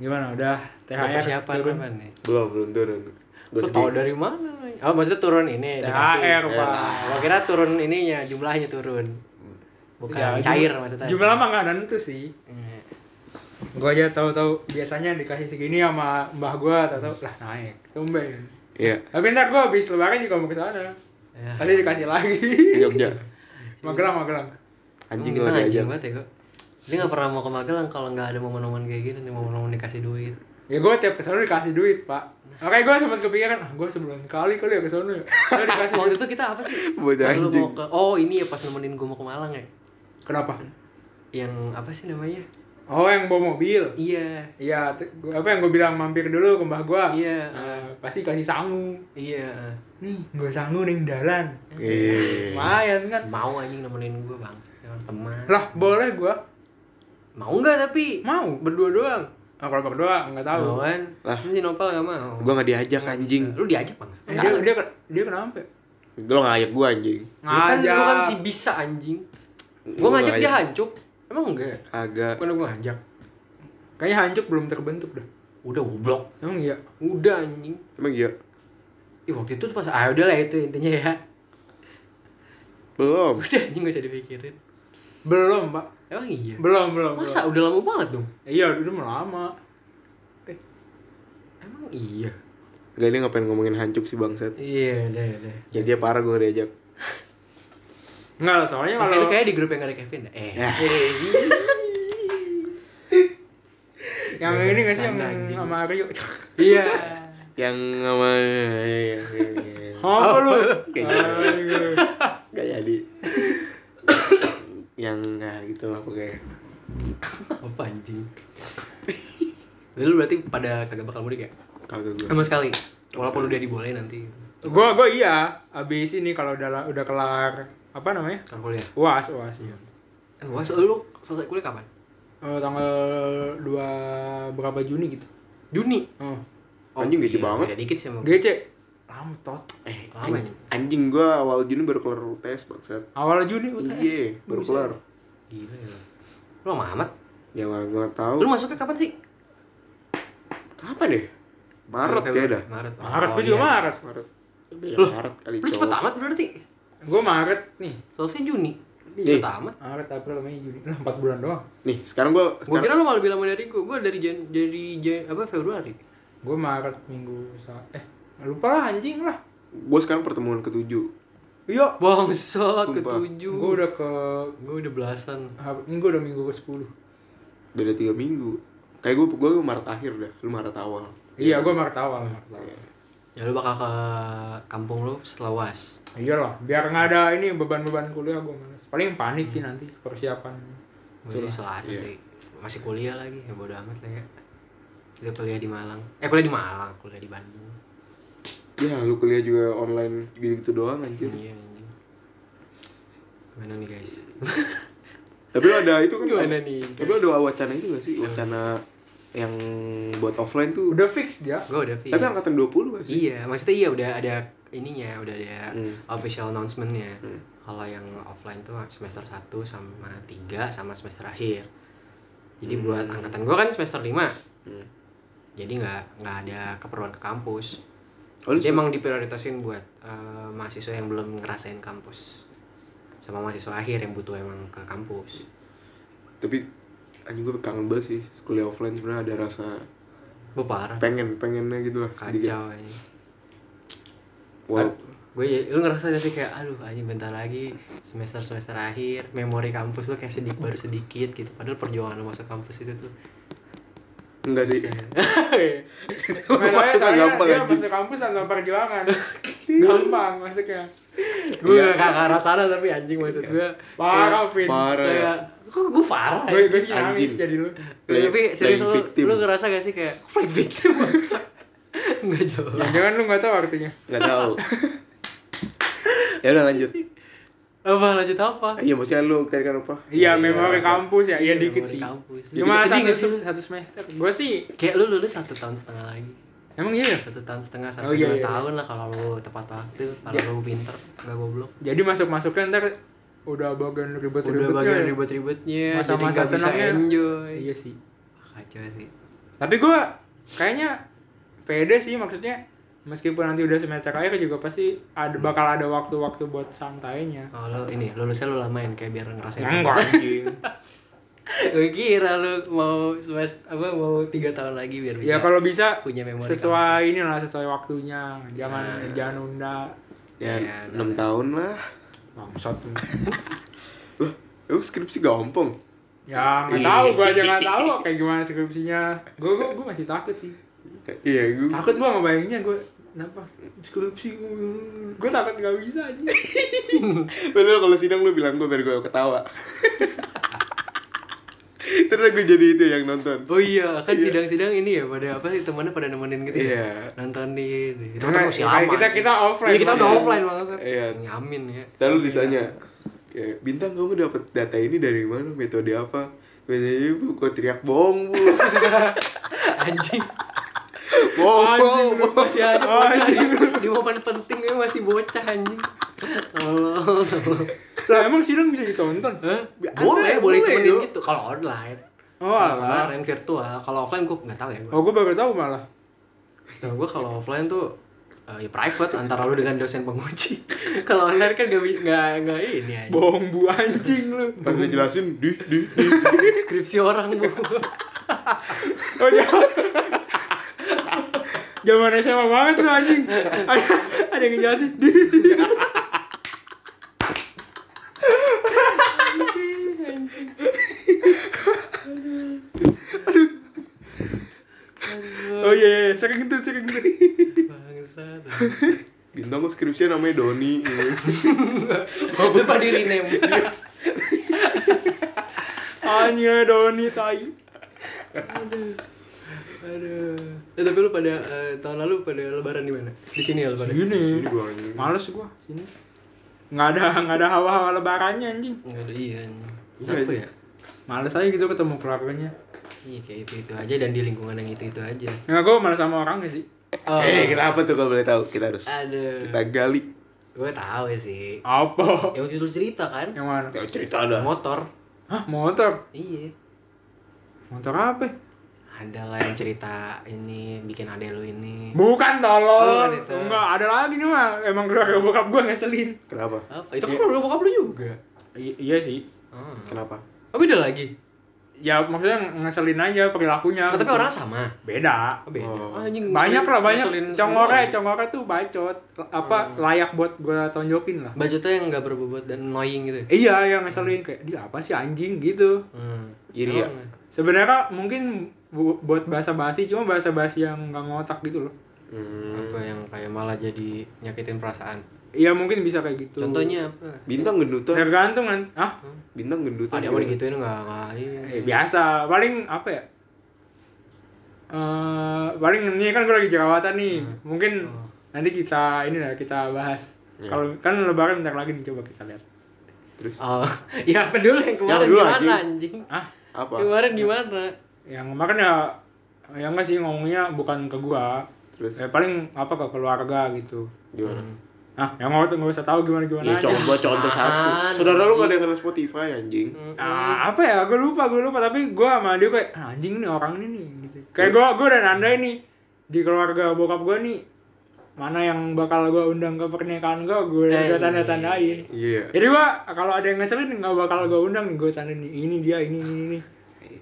[SPEAKER 3] Gimana
[SPEAKER 1] Udah
[SPEAKER 3] udah THR
[SPEAKER 1] persiapan
[SPEAKER 3] turun?
[SPEAKER 1] apaan nih?
[SPEAKER 2] Belum, belum turun. Gue
[SPEAKER 1] Lu tau dari mana? anjing? Oh maksudnya turun ini
[SPEAKER 3] THR, Pak.
[SPEAKER 2] Iya.
[SPEAKER 1] Lo kira turun ininya jumlahnya turun. Bukan
[SPEAKER 3] Ya,
[SPEAKER 1] cair
[SPEAKER 3] jum-
[SPEAKER 1] maksudnya.
[SPEAKER 3] Jumlah mah nggak nentu sih.
[SPEAKER 1] Iya.
[SPEAKER 3] Gua aja tahu-tahu biasanya dikasih segini sama mbah gua tahu-tahu lah naik. Tumben.
[SPEAKER 2] Iya.
[SPEAKER 3] Tapi ntar gua habis lebaran juga mau ke sana.
[SPEAKER 1] Ya.
[SPEAKER 2] Kan
[SPEAKER 3] Tadi dikasih lagi.
[SPEAKER 2] Ke Jogja.
[SPEAKER 3] Magelang, Magelang.
[SPEAKER 2] Anjing
[SPEAKER 1] Emang kita
[SPEAKER 2] lu ada aja.
[SPEAKER 1] anjing banget ya kok. Dia gak pernah mau ke Magelang kalau nggak ada momen-momen kayak gini nih momen-momen dikasih duit.
[SPEAKER 3] Ya gue tiap kesana dikasih duit pak Makanya gue sempat kepikiran ah gue sebulan kali kali ya kesana ya Saya dikasih
[SPEAKER 1] Waktu
[SPEAKER 3] duit
[SPEAKER 1] itu kita apa sih?
[SPEAKER 2] Bocah
[SPEAKER 1] Pas lu
[SPEAKER 2] anjing.
[SPEAKER 1] mau ke Oh ini ya pas nemenin gue mau ke Malang ya.
[SPEAKER 3] Kenapa?
[SPEAKER 1] Yang apa sih namanya?
[SPEAKER 3] Oh yang bawa mobil
[SPEAKER 1] Iya.
[SPEAKER 3] Iya tu- gua- apa yang gue bilang mampir dulu ke mbah gue
[SPEAKER 1] Iya.
[SPEAKER 3] Pasti kasih sangu
[SPEAKER 1] Iya.
[SPEAKER 3] Nih gue sangu neng dalan
[SPEAKER 2] Iya.
[SPEAKER 3] Lumayan kan
[SPEAKER 1] Mau anjing nemenin gue bang, Emang teman.
[SPEAKER 3] Lah boleh gue
[SPEAKER 1] Mau nggak tapi?
[SPEAKER 3] Mau
[SPEAKER 1] Berdua doang.
[SPEAKER 3] nah, Kalau berdua nggak tahu
[SPEAKER 1] Mau kan?
[SPEAKER 2] Lah.
[SPEAKER 1] Ini Si Nopal nggak mau.
[SPEAKER 2] Gue gak diajak anjing.
[SPEAKER 1] Lu diajak bang.
[SPEAKER 3] Eh, dia, dia, dia kenapa? ya?
[SPEAKER 2] Lu ngajak gue anjing.
[SPEAKER 1] Lu kan, lu kan si
[SPEAKER 3] Ngajak.
[SPEAKER 1] bisa anjing.
[SPEAKER 2] Gua
[SPEAKER 1] Gue ngajak
[SPEAKER 2] nggak
[SPEAKER 1] dia
[SPEAKER 2] ngajak.
[SPEAKER 1] hancur. Emang enggak?
[SPEAKER 2] Agak.
[SPEAKER 1] Bukan gue ngajak.
[SPEAKER 3] Kayaknya hancur belum terbentuk dah
[SPEAKER 1] Udah goblok.
[SPEAKER 3] Emang iya?
[SPEAKER 1] Udah anjing.
[SPEAKER 2] Emang iya?
[SPEAKER 1] Ih waktu itu tuh pas ah udah lah itu intinya ya.
[SPEAKER 2] Belum.
[SPEAKER 1] Udah anjing gak usah dipikirin.
[SPEAKER 3] Belum pak
[SPEAKER 1] Emang iya.
[SPEAKER 3] Belum belum
[SPEAKER 1] Masa
[SPEAKER 3] belum.
[SPEAKER 1] udah lama banget dong.
[SPEAKER 3] Iya udah udah lama
[SPEAKER 1] Emang iya.
[SPEAKER 2] Gak dia ngapain ngomongin hancuk sih bangsat.
[SPEAKER 1] Iya, udah, udah.
[SPEAKER 2] Ya dia parah gue diajak.
[SPEAKER 3] Enggak lah soalnya
[SPEAKER 1] Kalau itu
[SPEAKER 3] kalau
[SPEAKER 1] kayak di grup yang gak ada Kevin. dah. Eh.
[SPEAKER 2] Ya.
[SPEAKER 3] yang ini nggak sih yang
[SPEAKER 1] Canda, anjing.
[SPEAKER 3] sama Aryo
[SPEAKER 1] Iya.
[SPEAKER 2] Yang sama... iya, iya, iya.
[SPEAKER 3] apa lu
[SPEAKER 2] Kayaknya.
[SPEAKER 1] gitu.
[SPEAKER 3] Aduh.
[SPEAKER 2] Gak jadi. Yang nah, gitu lah pokoknya.
[SPEAKER 1] Apa anjing? Lu berarti pada kagak bakal mudik ya?
[SPEAKER 2] Kagak gue.
[SPEAKER 1] Sama sekali. Walaupun udah dibolehin nanti.
[SPEAKER 3] gua gua iya abis ini kalau udah la- udah kelar apa namanya
[SPEAKER 1] Kan kuliah.
[SPEAKER 3] uas uas iya
[SPEAKER 1] Eh, Wah, so, lu selesai kuliah kapan?
[SPEAKER 3] Eh, tanggal dua berapa Juni gitu
[SPEAKER 1] Juni.
[SPEAKER 3] oh.
[SPEAKER 2] Anjing, gede
[SPEAKER 1] iya,
[SPEAKER 2] banget.
[SPEAKER 1] Beda dikit sih sama gua.
[SPEAKER 3] GC lama tot
[SPEAKER 2] Eh,
[SPEAKER 1] Lama ya?
[SPEAKER 2] anjing, anjing gue awal Juni baru kelar UTS bangsat.
[SPEAKER 3] awal Juni UTS
[SPEAKER 2] Iya, baru kelar.
[SPEAKER 1] Gila ya. Lu lama amat.
[SPEAKER 2] Ya gue gak tau.
[SPEAKER 1] Lu masuknya kapan sih?
[SPEAKER 2] Kapan deh? Maret
[SPEAKER 1] Februari.
[SPEAKER 2] ya dah.
[SPEAKER 1] Maret. Oh,
[SPEAKER 3] Maret gua
[SPEAKER 1] iya.
[SPEAKER 3] juga Maret
[SPEAKER 2] Maret. Beda
[SPEAKER 1] Loh,
[SPEAKER 2] Maret kali
[SPEAKER 1] Lu cepet
[SPEAKER 2] cowok.
[SPEAKER 1] amat berarti.
[SPEAKER 3] gua Maret nih
[SPEAKER 1] Selesai Juni. Lu
[SPEAKER 2] Iya.
[SPEAKER 1] Cepet amat.
[SPEAKER 3] Maret April Mei Juni lah empat bulan doang
[SPEAKER 2] Nih, sekarang gue
[SPEAKER 1] Gua kira lu malah bilang lama dari gua. Gua dari Jan dari Jan- apa Februari.
[SPEAKER 3] gua Maret minggu sa- eh lupa lah anjing lah
[SPEAKER 2] gue sekarang pertemuan ketujuh.
[SPEAKER 3] iya
[SPEAKER 1] Bangsat
[SPEAKER 2] Sumpah.
[SPEAKER 1] ketujuh.
[SPEAKER 3] gua udah ke
[SPEAKER 1] Gua udah belasan.
[SPEAKER 3] ini gua udah minggu ke sepuluh
[SPEAKER 2] beda tiga minggu kayak gue gue Maret akhir dah lu Maret awal kan? Iya.
[SPEAKER 3] Iya, gue Maret awal. Maret awal.
[SPEAKER 1] Ya lu bakal ke kampung lu setelah was.
[SPEAKER 3] Iyalah, biar nggak ada ini beban-beban kuliah gue males. Paling panik sih nanti persiapan.
[SPEAKER 1] Masih selasa sih. Masih kuliah lagi, ya bodo amat lah ya. Kita kuliah di Malang. Eh kuliah di Malang, kuliah di Bandung.
[SPEAKER 2] ya lu kuliah juga online gitu, -gitu doang anjir
[SPEAKER 1] Iya anjing. Gimana nih guys?
[SPEAKER 2] tapi lu ada itu kan
[SPEAKER 1] Gimana nih,
[SPEAKER 2] tapi lu ada wacana itu gak
[SPEAKER 1] Iya.
[SPEAKER 2] sih wacana yang buat offline tuh
[SPEAKER 3] Udah fix dia.
[SPEAKER 1] Gue udah fix.
[SPEAKER 2] tapi angkatan 20 gak sih
[SPEAKER 1] Iya, maksudnya iya udah ada ininya, udah ada
[SPEAKER 2] Hmm.
[SPEAKER 1] official announcement-nya.
[SPEAKER 2] Hmm.
[SPEAKER 1] Kalau yang offline tuh semester 1 sama 3 sama semester akhir. Jadi
[SPEAKER 2] Hmm.
[SPEAKER 1] buat angkatan gue kan semester 5.
[SPEAKER 2] Hmm.
[SPEAKER 1] Jadi nggak nggak ada keperluan ke kampus.
[SPEAKER 2] oh, lu
[SPEAKER 1] Jadi emang diprioritasin buat eh, mahasiswa yang belum ngerasain kampus. Sama mahasiswa akhir yang butuh emang ke kampus.
[SPEAKER 2] tapi anjing gue kangen banget sih kuliah offline sebenarnya ada rasa
[SPEAKER 1] Gue parah.
[SPEAKER 2] pengen pengennya gitu lah sedikit
[SPEAKER 1] Kacau ini.
[SPEAKER 2] wow
[SPEAKER 1] gue lu ngerasa gak sih kayak aduh aja bentar lagi semester semester akhir memori kampus lu kayak sedikit baru sedikit gitu padahal perjuangan lu masuk kampus itu tuh
[SPEAKER 2] enggak sih
[SPEAKER 3] Iya. Makanya
[SPEAKER 2] masuknya
[SPEAKER 3] soalnya
[SPEAKER 2] gampang
[SPEAKER 3] dia
[SPEAKER 2] anjing
[SPEAKER 3] Masuk kampus tanpa perjuangan. gampang masuknya.
[SPEAKER 1] gue gak ke arah sana tapi anjing maksud gue
[SPEAKER 3] Iya. Parah, Vin.
[SPEAKER 2] parah ya
[SPEAKER 1] kayak kok gue parah
[SPEAKER 3] Gue
[SPEAKER 1] ya?
[SPEAKER 3] gue sih nangis
[SPEAKER 2] Anjing.
[SPEAKER 3] jadi lu.
[SPEAKER 2] Play-
[SPEAKER 1] tapi serius
[SPEAKER 2] playing
[SPEAKER 1] lu,
[SPEAKER 2] victim.
[SPEAKER 1] lu ngerasa gak sih kayak "Kok playing victim masa nggak jelas
[SPEAKER 3] Jangan lu nggak tahu artinya.
[SPEAKER 2] nggak tahu ya udah lanjut
[SPEAKER 1] apa lanjut apa
[SPEAKER 2] iya maksudnya lu tadi kan apa
[SPEAKER 3] Iya, memori
[SPEAKER 2] rasa-
[SPEAKER 3] kampus ya. Iya
[SPEAKER 1] Memori
[SPEAKER 3] dikit sih.
[SPEAKER 1] kampus.
[SPEAKER 3] Cuma
[SPEAKER 1] Sedih
[SPEAKER 3] satu,
[SPEAKER 1] nggak sih lu?
[SPEAKER 3] satu semester. Gue sih
[SPEAKER 1] kayak lu lulus satu tahun setengah lagi
[SPEAKER 3] emang iya.
[SPEAKER 1] satu tahun setengah sampai
[SPEAKER 3] Oh, iya,
[SPEAKER 1] dua
[SPEAKER 3] iya.
[SPEAKER 1] tahun lah kalau lu tepat waktu kalau lu pinter nggak goblok
[SPEAKER 3] Jadi masuk masuknya ntar udah bagian
[SPEAKER 1] udah bagian
[SPEAKER 3] ribet-ribetnya. ya?
[SPEAKER 1] ribet-ribetnya Iya, jadi
[SPEAKER 3] Masa-masa
[SPEAKER 1] nggak bisa
[SPEAKER 3] senangnya.
[SPEAKER 1] enjoy
[SPEAKER 3] Iya sih.
[SPEAKER 1] Wah, kacau sih
[SPEAKER 3] Tapi gue kayaknya pede sih maksudnya meskipun nanti udah semester akhir juga pasti ada bakal ada waktu-waktu buat santainya.
[SPEAKER 1] oh, lo ini lulusnya lu lamain kayak biar ngerasain
[SPEAKER 3] Enggak anjing.
[SPEAKER 1] gue kira lu mau semester apa mau tiga tahun lagi biar bisa
[SPEAKER 3] Ya kalau bisa
[SPEAKER 1] punya memori Nah.
[SPEAKER 3] sesuai inilah sesuai waktunya. Jangan jangan nunda.
[SPEAKER 2] ya
[SPEAKER 3] Iya,
[SPEAKER 1] Ya,
[SPEAKER 2] enam tahun lah
[SPEAKER 3] Bangsat. lu.
[SPEAKER 2] loh lu skripsi gampang
[SPEAKER 3] Ya
[SPEAKER 1] Iya.
[SPEAKER 3] nggak
[SPEAKER 2] Ih.
[SPEAKER 3] tahu gue aja nggak tahu kayak gimana skripsinya. Gue gue gue masih takut sih.
[SPEAKER 2] iya gue
[SPEAKER 3] Takut gue ngebayanginnya gue kenapa skripsi gue takut nggak bisa aja.
[SPEAKER 2] Padahal kalau sidang lu bilang gue biar gue ketawa Terus gue jadi itu yang nonton
[SPEAKER 1] oh iya kan sidang-sidang ini ya pada apa sih temannya pada nemenin gitu ya?
[SPEAKER 2] Iya
[SPEAKER 1] nontonin itu
[SPEAKER 3] Karena-
[SPEAKER 1] kan masih
[SPEAKER 3] karena
[SPEAKER 1] lama
[SPEAKER 3] kita- kita offline.
[SPEAKER 1] Iya, kita udah
[SPEAKER 3] Iya.
[SPEAKER 1] offline banget
[SPEAKER 2] Iya.
[SPEAKER 1] nyamin ya
[SPEAKER 2] Lalu ditanya kayak, Bintang kamu dapat data ini dari mana? Metode apa? Metode bu, kok teriak bohong bu
[SPEAKER 1] anjing
[SPEAKER 2] Bohong, bohong, bohong
[SPEAKER 1] masih ada
[SPEAKER 3] Oh,
[SPEAKER 1] bocah
[SPEAKER 3] iya.
[SPEAKER 1] di- di momen penting dia masih bocah anjing tolong tolong.
[SPEAKER 3] Lah emang sidang bisa ditonton?
[SPEAKER 1] Hah?
[SPEAKER 2] Ada,
[SPEAKER 1] ya, boleh boleh
[SPEAKER 2] boleh
[SPEAKER 1] temenin
[SPEAKER 2] dong.
[SPEAKER 1] gitu kalau online
[SPEAKER 3] Oh
[SPEAKER 1] kalau
[SPEAKER 3] alah.
[SPEAKER 1] online virtual kalau offline gue nggak tahu ya gue
[SPEAKER 3] Oh gue baru tahu malah.
[SPEAKER 1] gue Nah, kalau offline tuh eh, ya private antara lu dengan dosen penguji kalau online kan gak bi- nggak nggak ini aja
[SPEAKER 3] Bohong bu anjing lu.
[SPEAKER 2] Pas dijelasin, di, di, di
[SPEAKER 1] skripsi orang bu
[SPEAKER 3] Oh jangan. Zaman SMA banget lu anjing. Ada, ada yang ngejelasin. Oh iya, iya, sering itu, sering itu.
[SPEAKER 1] Bangsat.
[SPEAKER 2] Bintang kok skripsinya namanya Doni
[SPEAKER 1] lupa diri name
[SPEAKER 3] Anjing Doni tai.
[SPEAKER 1] aduh Eh, tapi lu pada eh, tahun lalu pada lebaran di mana di sini ya lebaran
[SPEAKER 3] Gini.
[SPEAKER 2] Ini gue anjing
[SPEAKER 3] Males gua sini. Nggak ada nggak ada hawa-hawa lebarannya anjing.
[SPEAKER 1] nggak ada iya anjing.
[SPEAKER 2] Iya,
[SPEAKER 1] apa
[SPEAKER 2] anjing.
[SPEAKER 1] ya
[SPEAKER 3] Males aja gitu ketemu keluarganya.
[SPEAKER 1] iya kayak itu itu aja dan di lingkungan yang itu itu aja
[SPEAKER 3] Nggak Ya, gua males sama orangnya sih.
[SPEAKER 1] oh,
[SPEAKER 2] Eh kenapa tuh kalau boleh tahu kita harus
[SPEAKER 1] aduh
[SPEAKER 2] kita gali
[SPEAKER 1] gue tahu sih
[SPEAKER 3] Apa?
[SPEAKER 1] yang waktu itu lu cerita kan
[SPEAKER 3] Yang mana?
[SPEAKER 2] Ya cerita dah
[SPEAKER 1] motor
[SPEAKER 3] Hah, motor.
[SPEAKER 1] iya
[SPEAKER 3] Motor apa?
[SPEAKER 1] ada lah yang cerita ini bikin adek lu ini Oh, bukan
[SPEAKER 3] Bukan tolol.
[SPEAKER 1] itu.
[SPEAKER 3] Enggak, ada lagi nih mah. Emang keluarga bokap gua ngeselin.
[SPEAKER 2] Kenapa?
[SPEAKER 1] apa itu kan udah bokap lu juga
[SPEAKER 3] I- iya sih.
[SPEAKER 1] oh.
[SPEAKER 2] Kenapa?
[SPEAKER 1] oh beda lagi
[SPEAKER 3] Ya maksudnya ngeselin aja perilakunya.
[SPEAKER 1] oh, tapi orangnya sama
[SPEAKER 3] beda.
[SPEAKER 1] oh, beda oh,
[SPEAKER 2] Oh.
[SPEAKER 1] anjing,
[SPEAKER 3] Banyak
[SPEAKER 1] ngeselin-
[SPEAKER 3] lah banyak.
[SPEAKER 1] ngeselin semua.
[SPEAKER 3] Congore,
[SPEAKER 1] Oh.
[SPEAKER 3] congore tuh bacot. Apa layak buat gua tonjokin lah.
[SPEAKER 1] budgetnya yang gak berbobot dan annoying gitu ya
[SPEAKER 3] Iya, yang ngeselin kayak dia apa sih anjing gitu.
[SPEAKER 1] hmm.
[SPEAKER 2] Iri ya?
[SPEAKER 1] Emang,
[SPEAKER 3] Sebenarnya mungkin bu- buat bahasa-basi cuma bahasa-basi yang nggak ngotak gitu loh.
[SPEAKER 2] Hmm.
[SPEAKER 1] apa yang kayak malah jadi nyakitin perasaan
[SPEAKER 3] Iya mungkin bisa kayak gitu.
[SPEAKER 1] contohnya apa
[SPEAKER 2] Bintang gendutan
[SPEAKER 3] tergantung kan. Ah,
[SPEAKER 2] Bintang gendutan
[SPEAKER 1] ada
[SPEAKER 2] gitu.
[SPEAKER 1] mau digituin nggak nggak iya.
[SPEAKER 2] Hmm.
[SPEAKER 3] Eh, biasa paling apa ya
[SPEAKER 2] Hmm.
[SPEAKER 3] Eh paling ini kan gue lagi jerawatan nih mungkin nanti kita ini lah kita bahas
[SPEAKER 2] Oh. Iya.
[SPEAKER 3] kalau kan lebaran bentar lagi nih coba kita lihat
[SPEAKER 2] Terus
[SPEAKER 1] Oh, ya apa dulu yang kemarin
[SPEAKER 2] dulu,
[SPEAKER 1] gimana
[SPEAKER 2] anjing.
[SPEAKER 1] anjing?
[SPEAKER 3] ah
[SPEAKER 2] apa?
[SPEAKER 1] Kemarin gimana?
[SPEAKER 3] yang kemarin ya ya enggak sih ngomongnya bukan ke gua
[SPEAKER 2] Terus
[SPEAKER 3] ya paling apa ke keluarga gitu
[SPEAKER 2] gimana?
[SPEAKER 1] Hmm.
[SPEAKER 3] ah yang nggak usah nggak usah tahu gimana
[SPEAKER 2] Ya
[SPEAKER 3] gimana
[SPEAKER 2] coba contoh satu.
[SPEAKER 1] Apaan?
[SPEAKER 2] Saudara lu gak ada yang kenal Spotify anjing.
[SPEAKER 3] Ah, apa ya? Gue lupa, gue lupa. Tapi gue sama dia kayak "Ah, anjing nih orang ini nih. Gitu. Kayak gue, gue dan anda ini di keluarga bokap gue nih mana yang bakal gue undang ke pernikahan gue, gue
[SPEAKER 1] Eh.
[SPEAKER 3] udah tanda tandain.
[SPEAKER 2] Iya.
[SPEAKER 3] Jadi gue kalau ada yang ngeselin nggak bakal gue undang nih, gue tanda nih ini dia ini ini ini.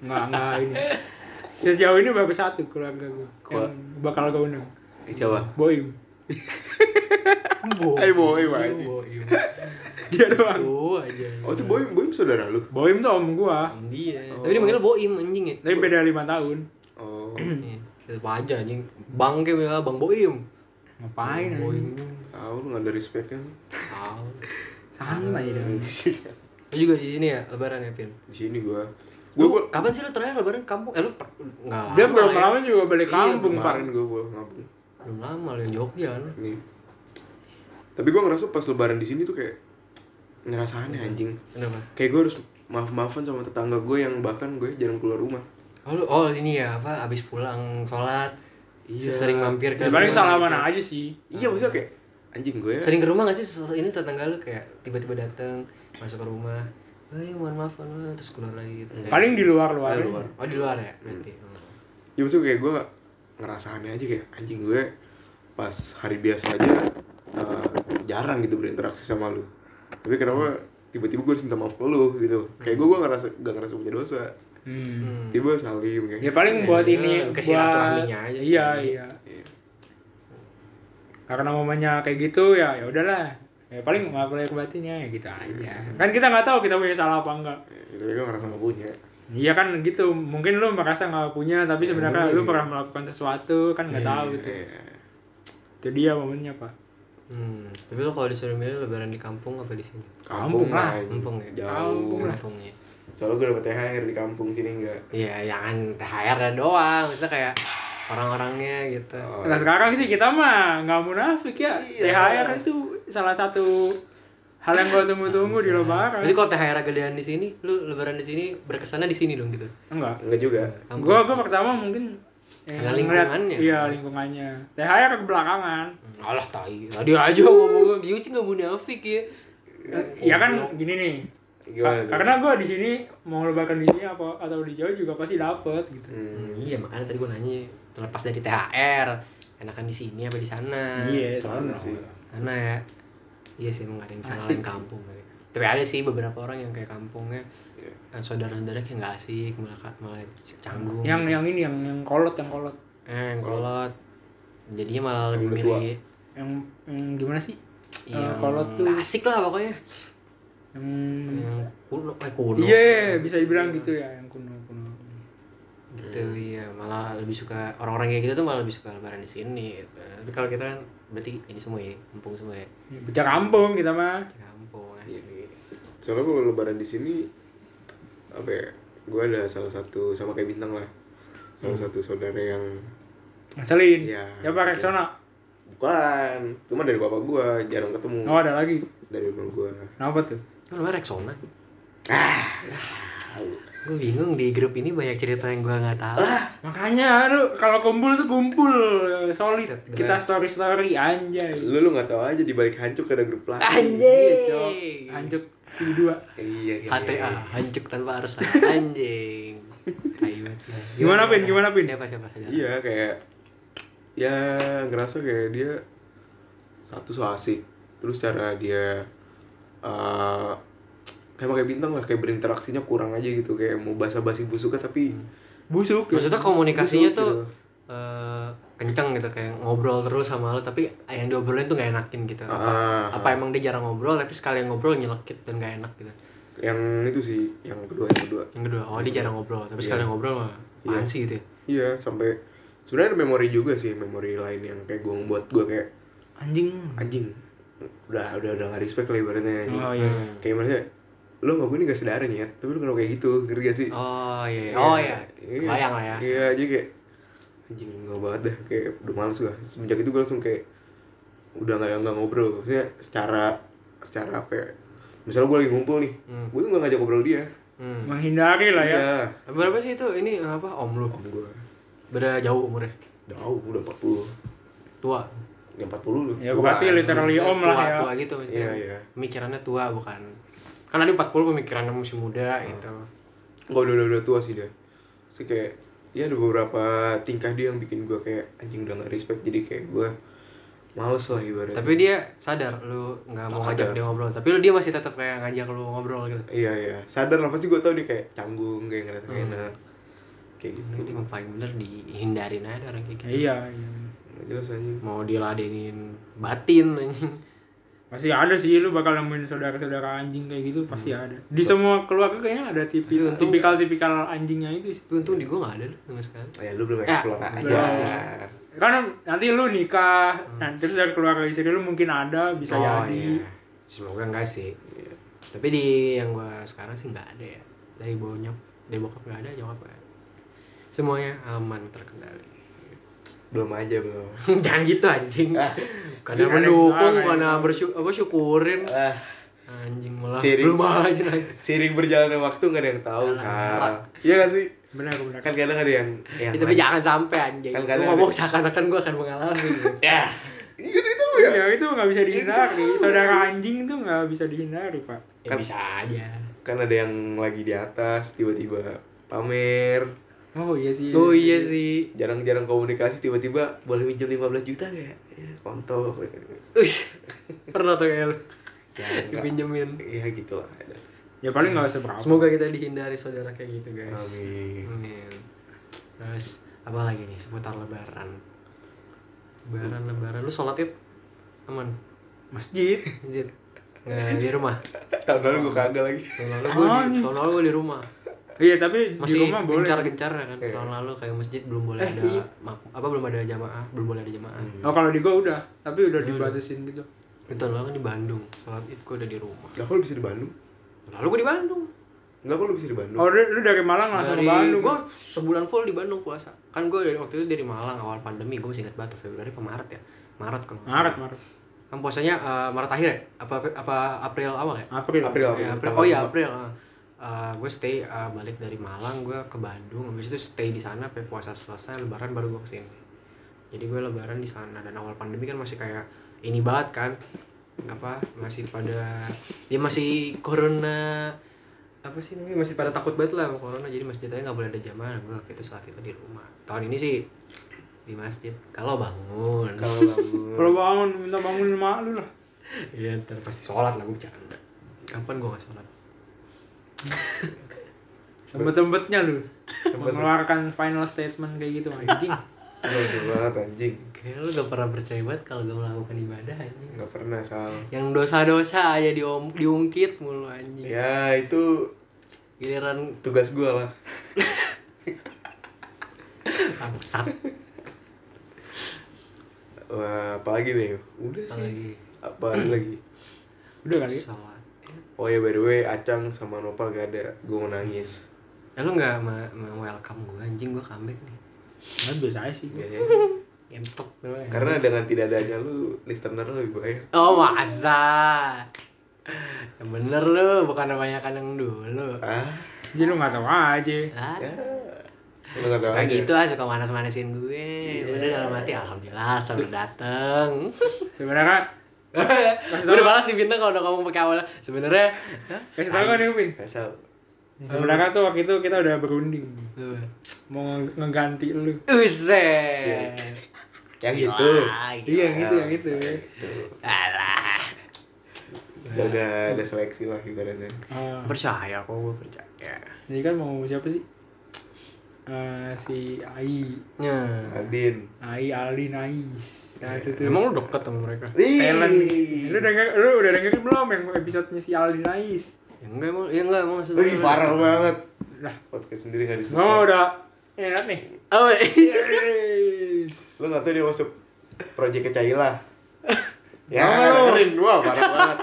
[SPEAKER 3] Nggak nggak ini. Sejauh ini baru satu keluarga gue
[SPEAKER 2] Keluar-
[SPEAKER 3] yang bakal gue undang.
[SPEAKER 2] Eh, coba.
[SPEAKER 3] Boim.
[SPEAKER 2] Eh boy anjing.
[SPEAKER 1] Oh, iya.
[SPEAKER 3] Dia doang.
[SPEAKER 1] Tuh aja.
[SPEAKER 2] Oh itu boy boy saudara lu.
[SPEAKER 3] Boim tuh om gue.
[SPEAKER 1] Am Dia. Tapi dia manggilnya Boim anjing ya.
[SPEAKER 3] Tapi beda lima tahun.
[SPEAKER 2] Oh.
[SPEAKER 1] Iya. Tetep aja anjing. Bang kayak bilang, Bang Boim.
[SPEAKER 3] Ngapain?
[SPEAKER 1] Boim.
[SPEAKER 3] anjing?
[SPEAKER 2] Tahu lu gak ada kan? respectnya. lu.
[SPEAKER 1] Tahu.
[SPEAKER 3] Santai dong.
[SPEAKER 1] Lu juga di sini ya lebaran ya, Pin.
[SPEAKER 2] Di sini gua. Gua
[SPEAKER 1] Lu
[SPEAKER 2] gua
[SPEAKER 1] kapan sih lu terakhir lebaran kampung? Eh lu per- nggak lama.
[SPEAKER 3] Dia
[SPEAKER 1] lah
[SPEAKER 3] belum
[SPEAKER 1] ya.
[SPEAKER 3] lama juga balik kampung, Pak.
[SPEAKER 2] kemarin gua pulang kampung.
[SPEAKER 1] Belum lama lu yang Jogja lu.
[SPEAKER 2] Nih. Tapi gua ngerasa pas lebaran di sini tuh kayak ngerasa aneh anjing.
[SPEAKER 1] Kenapa?
[SPEAKER 2] Kayak gua harus maaf-maafan sama tetangga gue yang bahkan gue jarang keluar rumah.
[SPEAKER 1] Oh, lu- oh ini ya apa abis pulang sholat
[SPEAKER 2] Iya.
[SPEAKER 1] sering mampir ke
[SPEAKER 3] Ya, paling
[SPEAKER 1] rumah
[SPEAKER 3] salaman
[SPEAKER 1] gitu.
[SPEAKER 3] aja sih.
[SPEAKER 2] Iya maksudnya kayak anjing gue ya.
[SPEAKER 1] sering ke rumah gak sih Ses- ini tetangga lu kayak tiba-tiba dateng masuk ke rumah eh mohon maaf mohon maaf," terus keluar lagi gitu
[SPEAKER 3] Paling di luar luar.
[SPEAKER 2] Di Iya. luar.
[SPEAKER 1] oh di luar ya berarti Hmm.
[SPEAKER 2] Ya maksudnya kayak gue ngerasa aneh aja kayak anjing gue pas hari biasa aja eh, jarang gitu berinteraksi sama lu. Tapi kenapa tiba-tiba gue harus minta maaf ke lu gitu. Kayak gue gue ngerasa gak ngerasa punya dosa. Tiba salim kayak.
[SPEAKER 3] Hmm.
[SPEAKER 2] gitu.
[SPEAKER 3] Ya paling buat
[SPEAKER 1] Ya,
[SPEAKER 3] ini
[SPEAKER 1] ke
[SPEAKER 3] buat
[SPEAKER 1] silaturahminya aja sih.
[SPEAKER 3] Iya, iya.
[SPEAKER 2] Iya.
[SPEAKER 3] Karena momennya kayak gitu ya, ya udahlah. Ya paling maaf lahir batinnya ya gitu aja. Kan kita nggak tahu kita punya salah apa enggak.
[SPEAKER 2] Ya, tapi gue ngerasa gak punya.
[SPEAKER 3] Iya kan gitu. Mungkin lu merasa nggak punya tapi sebenarnya lu pernah melakukan sesuatu kan nggak tahu gitu.
[SPEAKER 2] Iya.
[SPEAKER 3] Itu dia momennya, Pak.
[SPEAKER 1] hmm. tapi lu kalau disuruh milih lebaran di kampung apa di sini
[SPEAKER 2] Kampung,
[SPEAKER 3] Kampung lah,
[SPEAKER 2] lah. anjing.
[SPEAKER 1] kampung ya?
[SPEAKER 2] Jauh.
[SPEAKER 3] Kampung lah.
[SPEAKER 1] kampung ya
[SPEAKER 2] Soalnya gue dapet THR di kampung sini enggak.
[SPEAKER 1] iya jangan THR -nya ya doang maksudnya kayak orang-orangnya gitu
[SPEAKER 2] Oh,
[SPEAKER 3] Nah sekarang sih kita mah nggak munafik ya.
[SPEAKER 2] Iya.
[SPEAKER 3] THR itu salah satu hal yang gue tunggu-tunggu di
[SPEAKER 2] Iya.
[SPEAKER 3] lebaran.
[SPEAKER 1] Jadi kalau THR gedean di sini, lu lebaran di sini berkesannya di sini dong gitu.
[SPEAKER 3] Enggak.
[SPEAKER 2] enggak juga.
[SPEAKER 1] Kampung.
[SPEAKER 3] Gue gue pertama mungkin eh,
[SPEAKER 1] Karena
[SPEAKER 3] ngeliat-
[SPEAKER 1] lingkungannya.
[SPEAKER 3] Iya lingkungannya. THR ke belakangan.
[SPEAKER 1] Alah tai. Tadi aja
[SPEAKER 3] Hmm.
[SPEAKER 1] ngomong dia sih enggak munafik ya.
[SPEAKER 3] Ya kan gini nih.
[SPEAKER 2] Gimana
[SPEAKER 3] Ka-
[SPEAKER 2] tuh?
[SPEAKER 3] Karena gue di sini mau lebaran di sini apa atau di Jawa juga pasti dapet gitu.
[SPEAKER 2] Hmm,
[SPEAKER 1] Hmm, iya makanya tadi gua nanya terlepas dari THR, enakan di sini apa di sana?
[SPEAKER 3] Iya.
[SPEAKER 2] sana sih.
[SPEAKER 1] Sana ya. Iya sih emang gak ada yang salah yang kampung sih. Tapi ada sih beberapa orang yang kayak kampungnya eh, saudara-saudara kayak nggak asik malah malah canggung gitu.
[SPEAKER 3] Yang yang ini yang yang kolot yang kolot.
[SPEAKER 1] eh yang kolot jadinya malah
[SPEAKER 2] Yang
[SPEAKER 1] lebih
[SPEAKER 2] udah tua.
[SPEAKER 1] milih
[SPEAKER 3] Yang, yang gimana sih? Eh,
[SPEAKER 1] yang
[SPEAKER 3] kolot tuh.
[SPEAKER 1] nggak asik lah pokoknya
[SPEAKER 3] Yang
[SPEAKER 1] yang kuno kayak kuno
[SPEAKER 3] Iya bisa dibilang gitu ya yang kuno kuno.
[SPEAKER 1] gitu iya malah lebih suka orang-orang kayak gitu tuh malah lebih suka lebaran di sini gitu. tapi kalau kita kan berarti ini semua ya kampung semua ya
[SPEAKER 3] Ya, Bocah kampung kita mah.
[SPEAKER 1] Di kampung asli
[SPEAKER 3] Iya.
[SPEAKER 2] soalnya kalau lebaran di sini apa ya gue ada salah satu sama kayak bintang lah salah
[SPEAKER 3] Hmm.
[SPEAKER 2] satu saudara yang
[SPEAKER 3] Ngeselin.
[SPEAKER 2] Iya.
[SPEAKER 3] Ya Pak Rexona.
[SPEAKER 2] bukan cuma dari bapak gue jarang ketemu
[SPEAKER 3] Oh ada lagi.
[SPEAKER 2] dari bapak gue
[SPEAKER 3] Kenapa tuh?
[SPEAKER 1] Lu namanya Rexona
[SPEAKER 3] Ah,
[SPEAKER 1] gue bingung di grup ini banyak cerita yang gue nggak tahu
[SPEAKER 3] Ah, Makanya lu kalau kumpul tuh kumpul solid.
[SPEAKER 1] Set, bener.
[SPEAKER 3] Kita story story anjay.
[SPEAKER 2] lu lu nggak tahu aja di balik hancur ada grup lain
[SPEAKER 3] Iya,
[SPEAKER 1] anjing
[SPEAKER 3] Cok. Anjuk V2.
[SPEAKER 2] iya iya, iya
[SPEAKER 1] HTA hancur tanpa alasan anjing Tai banget lah.
[SPEAKER 3] Gimana, Pin? Gimana, Pin?
[SPEAKER 1] siapa siapa saja
[SPEAKER 2] iya kayak ya ngerasa kayak dia satu so asik terus cara dia eh kayak pakai bintang lah kayak berinteraksinya kurang aja gitu kayak mau basa-basi busuknya tapi
[SPEAKER 3] Busuk. ya.
[SPEAKER 1] maksudnya komunikasinya
[SPEAKER 2] Busuk,
[SPEAKER 1] tuh
[SPEAKER 2] gitu.
[SPEAKER 1] eh, kenceng gitu kayak ngobrol terus sama lo tapi yang diobrolin tuh gak enakin gitu apa,
[SPEAKER 2] Ah.
[SPEAKER 1] apa emang dia jarang ngobrol tapi sekali ngobrol nyelekit dan gak enak gitu
[SPEAKER 2] yang itu sih yang kedua yang kedua
[SPEAKER 1] yang kedua oh dia jarang ngobrol tapi sekali ngobrol mah apaan sih gitu ya
[SPEAKER 2] iya sampai sebenarnya ada memori juga sih memori lain yang kayak gue buat gue kayak
[SPEAKER 3] Anjing.
[SPEAKER 2] anjing udah udah udah nggak respect lah ibaratnya anjing
[SPEAKER 3] Oh iya.
[SPEAKER 2] kayak maksudnya lo sama gue ini gak sedara nih ya tapi lo kenapa kayak gitu ngerti gak sih
[SPEAKER 1] oh iya oh iya bayang lah ya
[SPEAKER 2] iya jadi kayak anjing nggak banget dah kayak udah males gue semenjak itu gue langsung kayak udah nggak nggak ngobrol maksudnya secara secara apa ya misalnya gue lagi ngumpul nih gue tuh nggak ngajak ngobrol dia
[SPEAKER 1] Hmm.
[SPEAKER 3] menghindari lah ya
[SPEAKER 2] iya
[SPEAKER 1] Berapa sih itu? Ini eh, apa? Om lu.
[SPEAKER 2] om gue
[SPEAKER 1] Beda jauh umurnya.
[SPEAKER 2] jauh udah 40
[SPEAKER 1] Tua.
[SPEAKER 2] yang 40 udah
[SPEAKER 3] ya
[SPEAKER 2] tua.
[SPEAKER 3] berarti literally om
[SPEAKER 1] tua,
[SPEAKER 3] lah ya
[SPEAKER 1] Tua gitu maksudnya.
[SPEAKER 2] Iya, iya.
[SPEAKER 1] Pemikirannya tua bukan. Kan tadi 40 pemikirannya masih
[SPEAKER 2] Ah.
[SPEAKER 1] muda gitu.
[SPEAKER 2] Gak udah, udah, udah tua sih dia Terus kayak Ya ada beberapa tingkah dia yang bikin gue kayak Anjing udah gak respect Jadi kayak gue Males lah ibaratnya
[SPEAKER 1] Tapi dia sadar lu nggak mau ngajak
[SPEAKER 2] Sadar.
[SPEAKER 1] dia ngobrol. Tapi lu dia masih tetap kayak ngajak lu ngobrol gitu.
[SPEAKER 2] Iya iya Sadar lah pasti gue tau dia kayak Canggung kayak ngerasa nggak enak Kayak gitu
[SPEAKER 1] Jadi yang paling bener dihindarin aja orang kayak gitu.
[SPEAKER 3] iya iya.
[SPEAKER 2] Gak jelas anjing
[SPEAKER 1] Mau diladenin batin anjing.
[SPEAKER 3] pasti ada sih lu bakal nemuin saudara-saudara anjing kayak gitu pasti ada di semua keluarga kayaknya ada tipi
[SPEAKER 1] Hmm. Iya, untung-
[SPEAKER 3] tipikal-tipikal anjingnya itu sih
[SPEAKER 1] Tapi untung di gua nggak ada tuh sama sekali.
[SPEAKER 2] Ya lu belum explore aja
[SPEAKER 3] belum sih. karena nanti lu nikah nanti dari keluarga istri lu mungkin ada bisa jadi
[SPEAKER 1] Hmm. iya. Semoga enggak sih.
[SPEAKER 2] Iya.
[SPEAKER 1] Tapi di yang gua sekarang sih nggak ada ya. Dari bonyok, dari bokap nggak ada, nyokap nggak ada. Semuanya aman terkendali.
[SPEAKER 2] Belum aja belum
[SPEAKER 1] Jangan gitu anjing.
[SPEAKER 2] Ah.
[SPEAKER 1] Karena
[SPEAKER 3] Sekarang
[SPEAKER 1] mendukung,
[SPEAKER 3] banget.
[SPEAKER 1] karena bersyukur, apa syukurin.
[SPEAKER 2] ah,
[SPEAKER 1] Anjing malah
[SPEAKER 2] Sirik.
[SPEAKER 1] belum aja lagi.
[SPEAKER 2] Sering berjalannya waktu gak ada yang tahu Sar Ah. Iya gak sih?
[SPEAKER 3] benar benar
[SPEAKER 2] Kan kadang ada yang yang
[SPEAKER 1] Ya, tapi jangan sampai anjing.
[SPEAKER 2] Kan
[SPEAKER 1] Lu
[SPEAKER 2] kadang
[SPEAKER 1] ngomong
[SPEAKER 2] ada-
[SPEAKER 1] seakan-akan gua akan mengalami.
[SPEAKER 2] Ya Iya itu ya
[SPEAKER 3] ya itu nggak bisa dihindari
[SPEAKER 1] kan
[SPEAKER 3] saudara anjing itu nggak bisa dihindari pak
[SPEAKER 1] ya,
[SPEAKER 2] Kan-
[SPEAKER 1] bisa aja.
[SPEAKER 2] Kan ada yang lagi di atas Tiba-tiba pamer
[SPEAKER 3] oh iya sih
[SPEAKER 1] Oh iya sih.
[SPEAKER 2] jarang-jarang komunikasi tiba-tiba boleh minjem 15 juta nggak ya, kontol
[SPEAKER 1] Uish. Pernah tuh kayak lu
[SPEAKER 2] ya enggak
[SPEAKER 1] dipinjemin.
[SPEAKER 2] ya gitulah ada
[SPEAKER 3] ya paling nggak seberapa
[SPEAKER 1] Semoga kita dihindari saudara kayak gitu guys.
[SPEAKER 2] amin
[SPEAKER 1] Amin. Terus apa lagi nih seputar lebaran? Lebaran lebaran lu sholat Ip? aman
[SPEAKER 3] masjid
[SPEAKER 1] masjid nggak di rumah
[SPEAKER 2] tahun lalu gue kagak lagi
[SPEAKER 1] tahun lalu gue di, tahun lalu gue di rumah
[SPEAKER 3] iya tapi di
[SPEAKER 1] masih
[SPEAKER 3] rumah boleh
[SPEAKER 1] gencar gencar ya kan
[SPEAKER 2] Iya.
[SPEAKER 1] tahun lalu kayak masjid belum boleh
[SPEAKER 3] Eh,
[SPEAKER 1] ada
[SPEAKER 3] iya.
[SPEAKER 1] ma- apa belum ada jamaah belum boleh ada jamaah
[SPEAKER 2] Hmm.
[SPEAKER 3] oh kalau di gua udah tapi udah dibatasin gitu
[SPEAKER 1] Itu tahun lalu kan di Bandung sholat id gue udah di rumah
[SPEAKER 2] nggak kalau bisa di Bandung
[SPEAKER 1] Tahun lalu gue di Bandung
[SPEAKER 2] nggak kalau bisa di Bandung
[SPEAKER 3] oh lu, lu dari Malang langsung
[SPEAKER 1] dari
[SPEAKER 3] ke Bandung
[SPEAKER 1] gue sebulan full di Bandung puasa kan gue dari waktu itu dari Malang awal pandemi gue masih ingat banget tuh, Februari apa Maret ya Maret kalau nggak salah.
[SPEAKER 3] Maret Maret
[SPEAKER 1] Kan puasanya eh, Maret akhir ya? Apa apa April awal ya?
[SPEAKER 3] April
[SPEAKER 2] April April,
[SPEAKER 1] Ya, April.
[SPEAKER 2] tanggal
[SPEAKER 1] Oh iya
[SPEAKER 2] lima.
[SPEAKER 1] April. ah. Eh, gue stay eh, balik dari Malang, gue ke Bandung, habis itu stay di sana sampai puasa selesai, lebaran baru gue kesini. Jadi gue lebaran di sana dan awal pandemi kan masih kayak ini banget kan apa masih pada ya masih corona apa sih namanya masih pada takut banget lah sama corona jadi masjidnya nggak boleh ada jamaah gue waktu itu sholat itu di rumah tahun ini sih di masjid kalau bangun
[SPEAKER 2] kalau bangun
[SPEAKER 3] kalau bangun minta bangun mak lu lah
[SPEAKER 1] Iya ntar pasti sholat lah gue bercanda Kapan gue gak sholat?
[SPEAKER 3] sempet-sempetnya lu mengeluarkan final statement kayak gitu anjing
[SPEAKER 2] nggak bisa banget anjing
[SPEAKER 1] Kayaknya lu gak pernah percaya banget kalau gue melakukan ibadah anjing
[SPEAKER 2] nggak pernah sal
[SPEAKER 1] Yang dosa-dosa aja diom, diungkit mulu anjing
[SPEAKER 2] ya itu
[SPEAKER 1] Giliran
[SPEAKER 2] tugas gue lah
[SPEAKER 1] bangsat
[SPEAKER 2] Wah, apalagi nih udah sih
[SPEAKER 1] Apalagi
[SPEAKER 2] apa ada lagi
[SPEAKER 3] udah kali ya?
[SPEAKER 1] sholat
[SPEAKER 2] oh ya by the way Acang sama Nopal gak ada gue mau nangis
[SPEAKER 1] Ya lu gak ma- ma- welcome gue anjing gue comeback nih
[SPEAKER 3] Nah, biasa aja sih
[SPEAKER 2] biasanya
[SPEAKER 1] Entok tuh ya.
[SPEAKER 2] karena dengan tidak adanya lu listener lebih banyak
[SPEAKER 1] Oh masa Ya bener lu bukan namanya yang dulu
[SPEAKER 2] ah
[SPEAKER 3] jadi lu nggak tahu aja
[SPEAKER 1] Ah,
[SPEAKER 2] ya lu nggak tahu
[SPEAKER 1] suka
[SPEAKER 2] aja
[SPEAKER 1] gitu ah suka manas-manasin gue Udah dalam hati alhamdulillah selamat dateng
[SPEAKER 3] sebenarnya
[SPEAKER 1] gue udah balas di bintang kalau udah ngomong pakai awal sebenarnya hah?
[SPEAKER 3] kasih tau kan nih Upin
[SPEAKER 2] Asal
[SPEAKER 3] sebenarnya tuh waktu itu kita udah berunding mau nge- ngeganti lu
[SPEAKER 1] Uset.
[SPEAKER 2] yang
[SPEAKER 1] Gila,
[SPEAKER 2] itu. Ah,
[SPEAKER 1] gila.
[SPEAKER 3] iya yang itu yang itu ya
[SPEAKER 1] Alah.
[SPEAKER 2] Ya udah ada seleksi lah ibaratnya.
[SPEAKER 3] Ah,
[SPEAKER 1] Percaya kok gue percaya.
[SPEAKER 3] jadi kan mau siapa sih Eh, si Ai
[SPEAKER 1] Ya.
[SPEAKER 2] Adin.
[SPEAKER 3] Ai Ali Nais nah itu tuh
[SPEAKER 1] Emang lu deket sama mereka?
[SPEAKER 3] Thailand
[SPEAKER 2] Ih.
[SPEAKER 3] lu denger lu udah dengerin belum yang episodenya si Ali Nais
[SPEAKER 1] Ya enggak emang, ya enggak emang maksud
[SPEAKER 2] Wih, parah banget.
[SPEAKER 3] Lah.
[SPEAKER 2] Podcast sendiri gak
[SPEAKER 3] Gua mau
[SPEAKER 2] disuka.
[SPEAKER 3] udah enak nih.
[SPEAKER 1] Oh, iya.
[SPEAKER 2] Lu gak tau dia masuk project ke Caila. ya,
[SPEAKER 3] Mau.
[SPEAKER 2] dengerin. Wah, parah banget.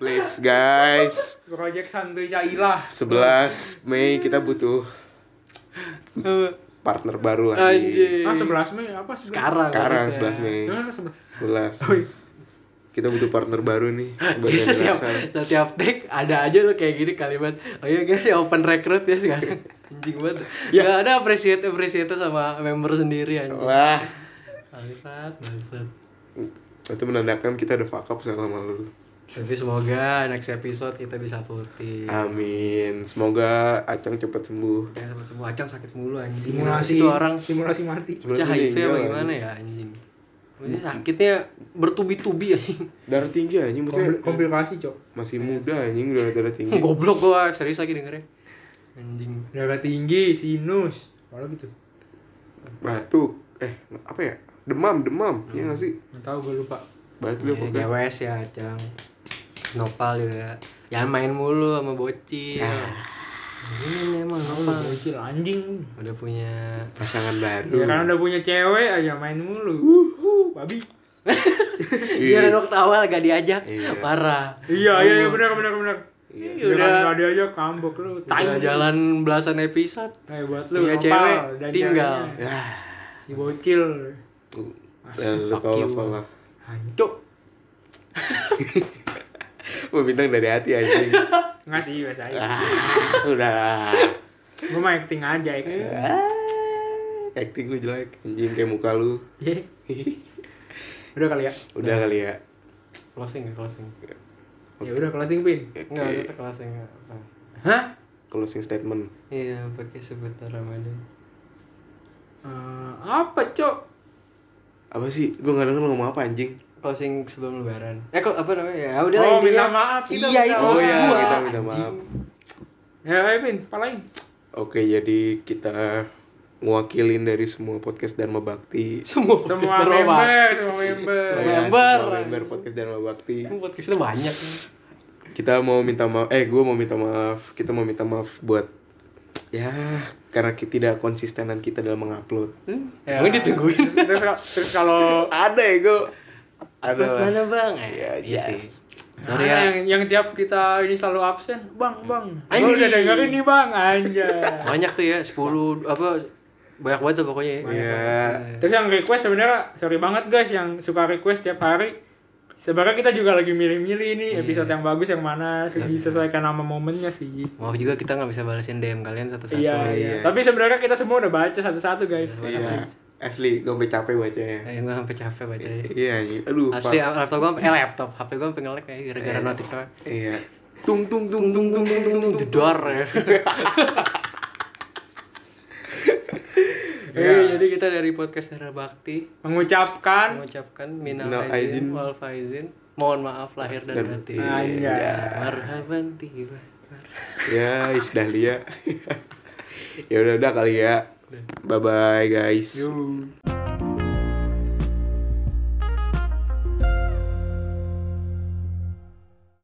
[SPEAKER 2] Please guys,
[SPEAKER 3] Project santuy Caila.
[SPEAKER 2] 11 Mei kita butuh partner baru
[SPEAKER 1] Anjing.
[SPEAKER 2] lagi.
[SPEAKER 3] Ah 11 Mei apa 11?
[SPEAKER 1] Sekarang.
[SPEAKER 2] Sekarang
[SPEAKER 1] harusnya.
[SPEAKER 2] 11 Mei.
[SPEAKER 3] Jangan
[SPEAKER 2] 11.
[SPEAKER 3] 11. Oi,
[SPEAKER 2] kita butuh partner baru nih buat
[SPEAKER 1] Jadi
[SPEAKER 2] yang
[SPEAKER 1] Iya, setiap
[SPEAKER 2] relaxan.
[SPEAKER 1] setiap take ada aja lo kayak gini kalimat. Oh iya guys, open recruit ya sekarang. Anjing banget.
[SPEAKER 2] Ya.
[SPEAKER 1] Gak ada appreciate appreciate sama member sendiri anjing.
[SPEAKER 2] wah
[SPEAKER 1] Bangsat, bangsat.
[SPEAKER 2] itu menandakan kita udah fuck up selama lu
[SPEAKER 1] Tapi semoga next episode kita bisa putih.
[SPEAKER 2] Ah. amin semoga acang cepat sembuh
[SPEAKER 1] Ya sama semua acang sakit mulu anjing.
[SPEAKER 3] Simulasi
[SPEAKER 1] Itu orang
[SPEAKER 3] simulasi mati.
[SPEAKER 1] cah
[SPEAKER 2] Sebenarnya
[SPEAKER 1] itu ya
[SPEAKER 2] meninggal,
[SPEAKER 1] bagaimana ya anjing. Maksudnya sakitnya bertubi-tubi anjing.
[SPEAKER 2] darah tinggi anjing maksudnya
[SPEAKER 3] Kompli- komplikasi, Cok.
[SPEAKER 2] masih muda anjing udah darah tinggi
[SPEAKER 1] Goblok gua serius lagi dengernya. Anjing.
[SPEAKER 3] Darah tinggi, sinus. Malah gitu.
[SPEAKER 2] batuk eh apa ya demam demam
[SPEAKER 1] Hmm.
[SPEAKER 2] iya nggak sih
[SPEAKER 3] Enggak tahu gue lupa.
[SPEAKER 2] batuk lu
[SPEAKER 1] Ya,
[SPEAKER 2] pokoknya
[SPEAKER 1] GWS ya Acang Nopal juga Jangan main mulu sama bocil Ini emang
[SPEAKER 3] Lu
[SPEAKER 1] Nopal
[SPEAKER 3] bocil anjing.
[SPEAKER 1] Udah punya
[SPEAKER 2] pasangan
[SPEAKER 1] Iya,
[SPEAKER 3] Ya
[SPEAKER 2] baru
[SPEAKER 3] kan udah punya cewek aja main mulu. Uhuh, babi.
[SPEAKER 1] Iya waktu awal gak diajak
[SPEAKER 2] Iya.
[SPEAKER 1] Parah
[SPEAKER 3] Iya, iya, iya benar benar benar.
[SPEAKER 1] Oh. Iya,
[SPEAKER 3] Iya,
[SPEAKER 1] udah.
[SPEAKER 3] udah enggak ada aja kambok lu. Tai.
[SPEAKER 1] Udah jalan belasan episode
[SPEAKER 3] Eh buat lu
[SPEAKER 1] Punya
[SPEAKER 3] nopal,
[SPEAKER 1] cewek
[SPEAKER 3] dan
[SPEAKER 1] tinggal
[SPEAKER 3] jalannya. Si bocil.
[SPEAKER 2] ya lu
[SPEAKER 1] Fuck
[SPEAKER 2] tau
[SPEAKER 1] you.
[SPEAKER 2] lah tau lah
[SPEAKER 3] Hancuk.
[SPEAKER 2] Wah, bintang dari hati anjing
[SPEAKER 3] Enggak sih biasa aja.
[SPEAKER 2] ah, udah
[SPEAKER 3] Gue mah acting aja ya. acting.
[SPEAKER 1] Iya.
[SPEAKER 2] Ah, acting lu jelek anjing kayak muka lu
[SPEAKER 3] Ye. Iya. udah kali ya.
[SPEAKER 2] udah kali ya
[SPEAKER 1] Closing ya closing
[SPEAKER 3] Ya udah closing pin.
[SPEAKER 1] Enggak kita closing nggak apa.
[SPEAKER 3] Hah?
[SPEAKER 2] closing statement
[SPEAKER 1] Iya pakai sebentar Ramadan
[SPEAKER 3] Eh, apa, Cok?
[SPEAKER 2] apa sih gue nggak denger lu ngomong apa anjing
[SPEAKER 1] Closing sebelum lebaran Eh kok apa namanya ya udah lah
[SPEAKER 3] Oh,
[SPEAKER 1] intinya.
[SPEAKER 3] minta maaf, kita
[SPEAKER 1] Iya
[SPEAKER 3] minta
[SPEAKER 1] itu
[SPEAKER 2] maaf.
[SPEAKER 1] maksud
[SPEAKER 2] Oh, iya,
[SPEAKER 1] gua,
[SPEAKER 2] kita minta
[SPEAKER 1] anjing.
[SPEAKER 2] maaf.
[SPEAKER 3] Ya, ayo pin, palain.
[SPEAKER 2] oke jadi kita ngwakilin dari semua podcast Dharma Bakti
[SPEAKER 1] Semua podcast
[SPEAKER 3] Semua
[SPEAKER 1] Dharma Bakti.
[SPEAKER 3] member, semua member.
[SPEAKER 2] Oh ya,
[SPEAKER 1] Member.
[SPEAKER 2] semua member podcast Dharma Bakti
[SPEAKER 1] Podcastnya banyak
[SPEAKER 2] kita mau minta maaf eh gue mau minta maaf kita mau minta maaf buat ya karena kita tidak konsistenan kita dalam mengupload
[SPEAKER 1] Hmm.
[SPEAKER 3] Ya.
[SPEAKER 1] Emang ditungguin
[SPEAKER 3] Terus- Terus, terus kalau
[SPEAKER 2] ada ya gue ada
[SPEAKER 1] Buat
[SPEAKER 2] lah.
[SPEAKER 1] mana bang? Eh,
[SPEAKER 2] Iya,
[SPEAKER 1] iya
[SPEAKER 2] yes.
[SPEAKER 1] sih. Sorry
[SPEAKER 3] Nah,
[SPEAKER 1] ya.
[SPEAKER 3] yang, yang tiap kita ini selalu absen, bang, bang.
[SPEAKER 1] Anjing.
[SPEAKER 3] Lu udah dengerin nih bang, anjay.
[SPEAKER 1] Banyak tuh ya, 10 apa banyak banget tuh pokoknya ya.
[SPEAKER 2] ya
[SPEAKER 3] Terus yang request sebenarnya sorry banget guys yang suka request tiap hari. Sebenarnya kita juga lagi milih-milih ini
[SPEAKER 1] Iya.
[SPEAKER 3] episode yang bagus yang mana, segi sesuaikan sama momennya sih.
[SPEAKER 1] Maaf juga kita nggak bisa balesin DM kalian satu-satu.
[SPEAKER 3] Iya,
[SPEAKER 2] iya.
[SPEAKER 3] iya. Tapi sebenarnya kita semua udah baca satu-satu guys.
[SPEAKER 2] iya asli gue sampai capek bacanya
[SPEAKER 1] Eh, gue sampai capek bacanya.
[SPEAKER 2] iya anjing. aduh
[SPEAKER 1] Asli
[SPEAKER 2] Pak.
[SPEAKER 1] laptop gue eh laptop, HP gue pengen nge-lag kayak gara-gara notif doang.
[SPEAKER 2] iya tung tung tung tung tung tung tung tung
[SPEAKER 1] Jedor ya. Eh, jadi kita dari podcast Darah Bakti
[SPEAKER 3] Mengucapkan
[SPEAKER 1] mengucapkan minal
[SPEAKER 2] Minal
[SPEAKER 1] aidin
[SPEAKER 2] aidin.
[SPEAKER 1] wal faizin. Mohon maaf lahir dan
[SPEAKER 2] Dan
[SPEAKER 1] batin.
[SPEAKER 2] batin.
[SPEAKER 1] Iya.
[SPEAKER 3] anjay.
[SPEAKER 1] Marhaban tiba.
[SPEAKER 2] ya isdahlia ya udah udah kali ya bye bye guys
[SPEAKER 3] Yuh.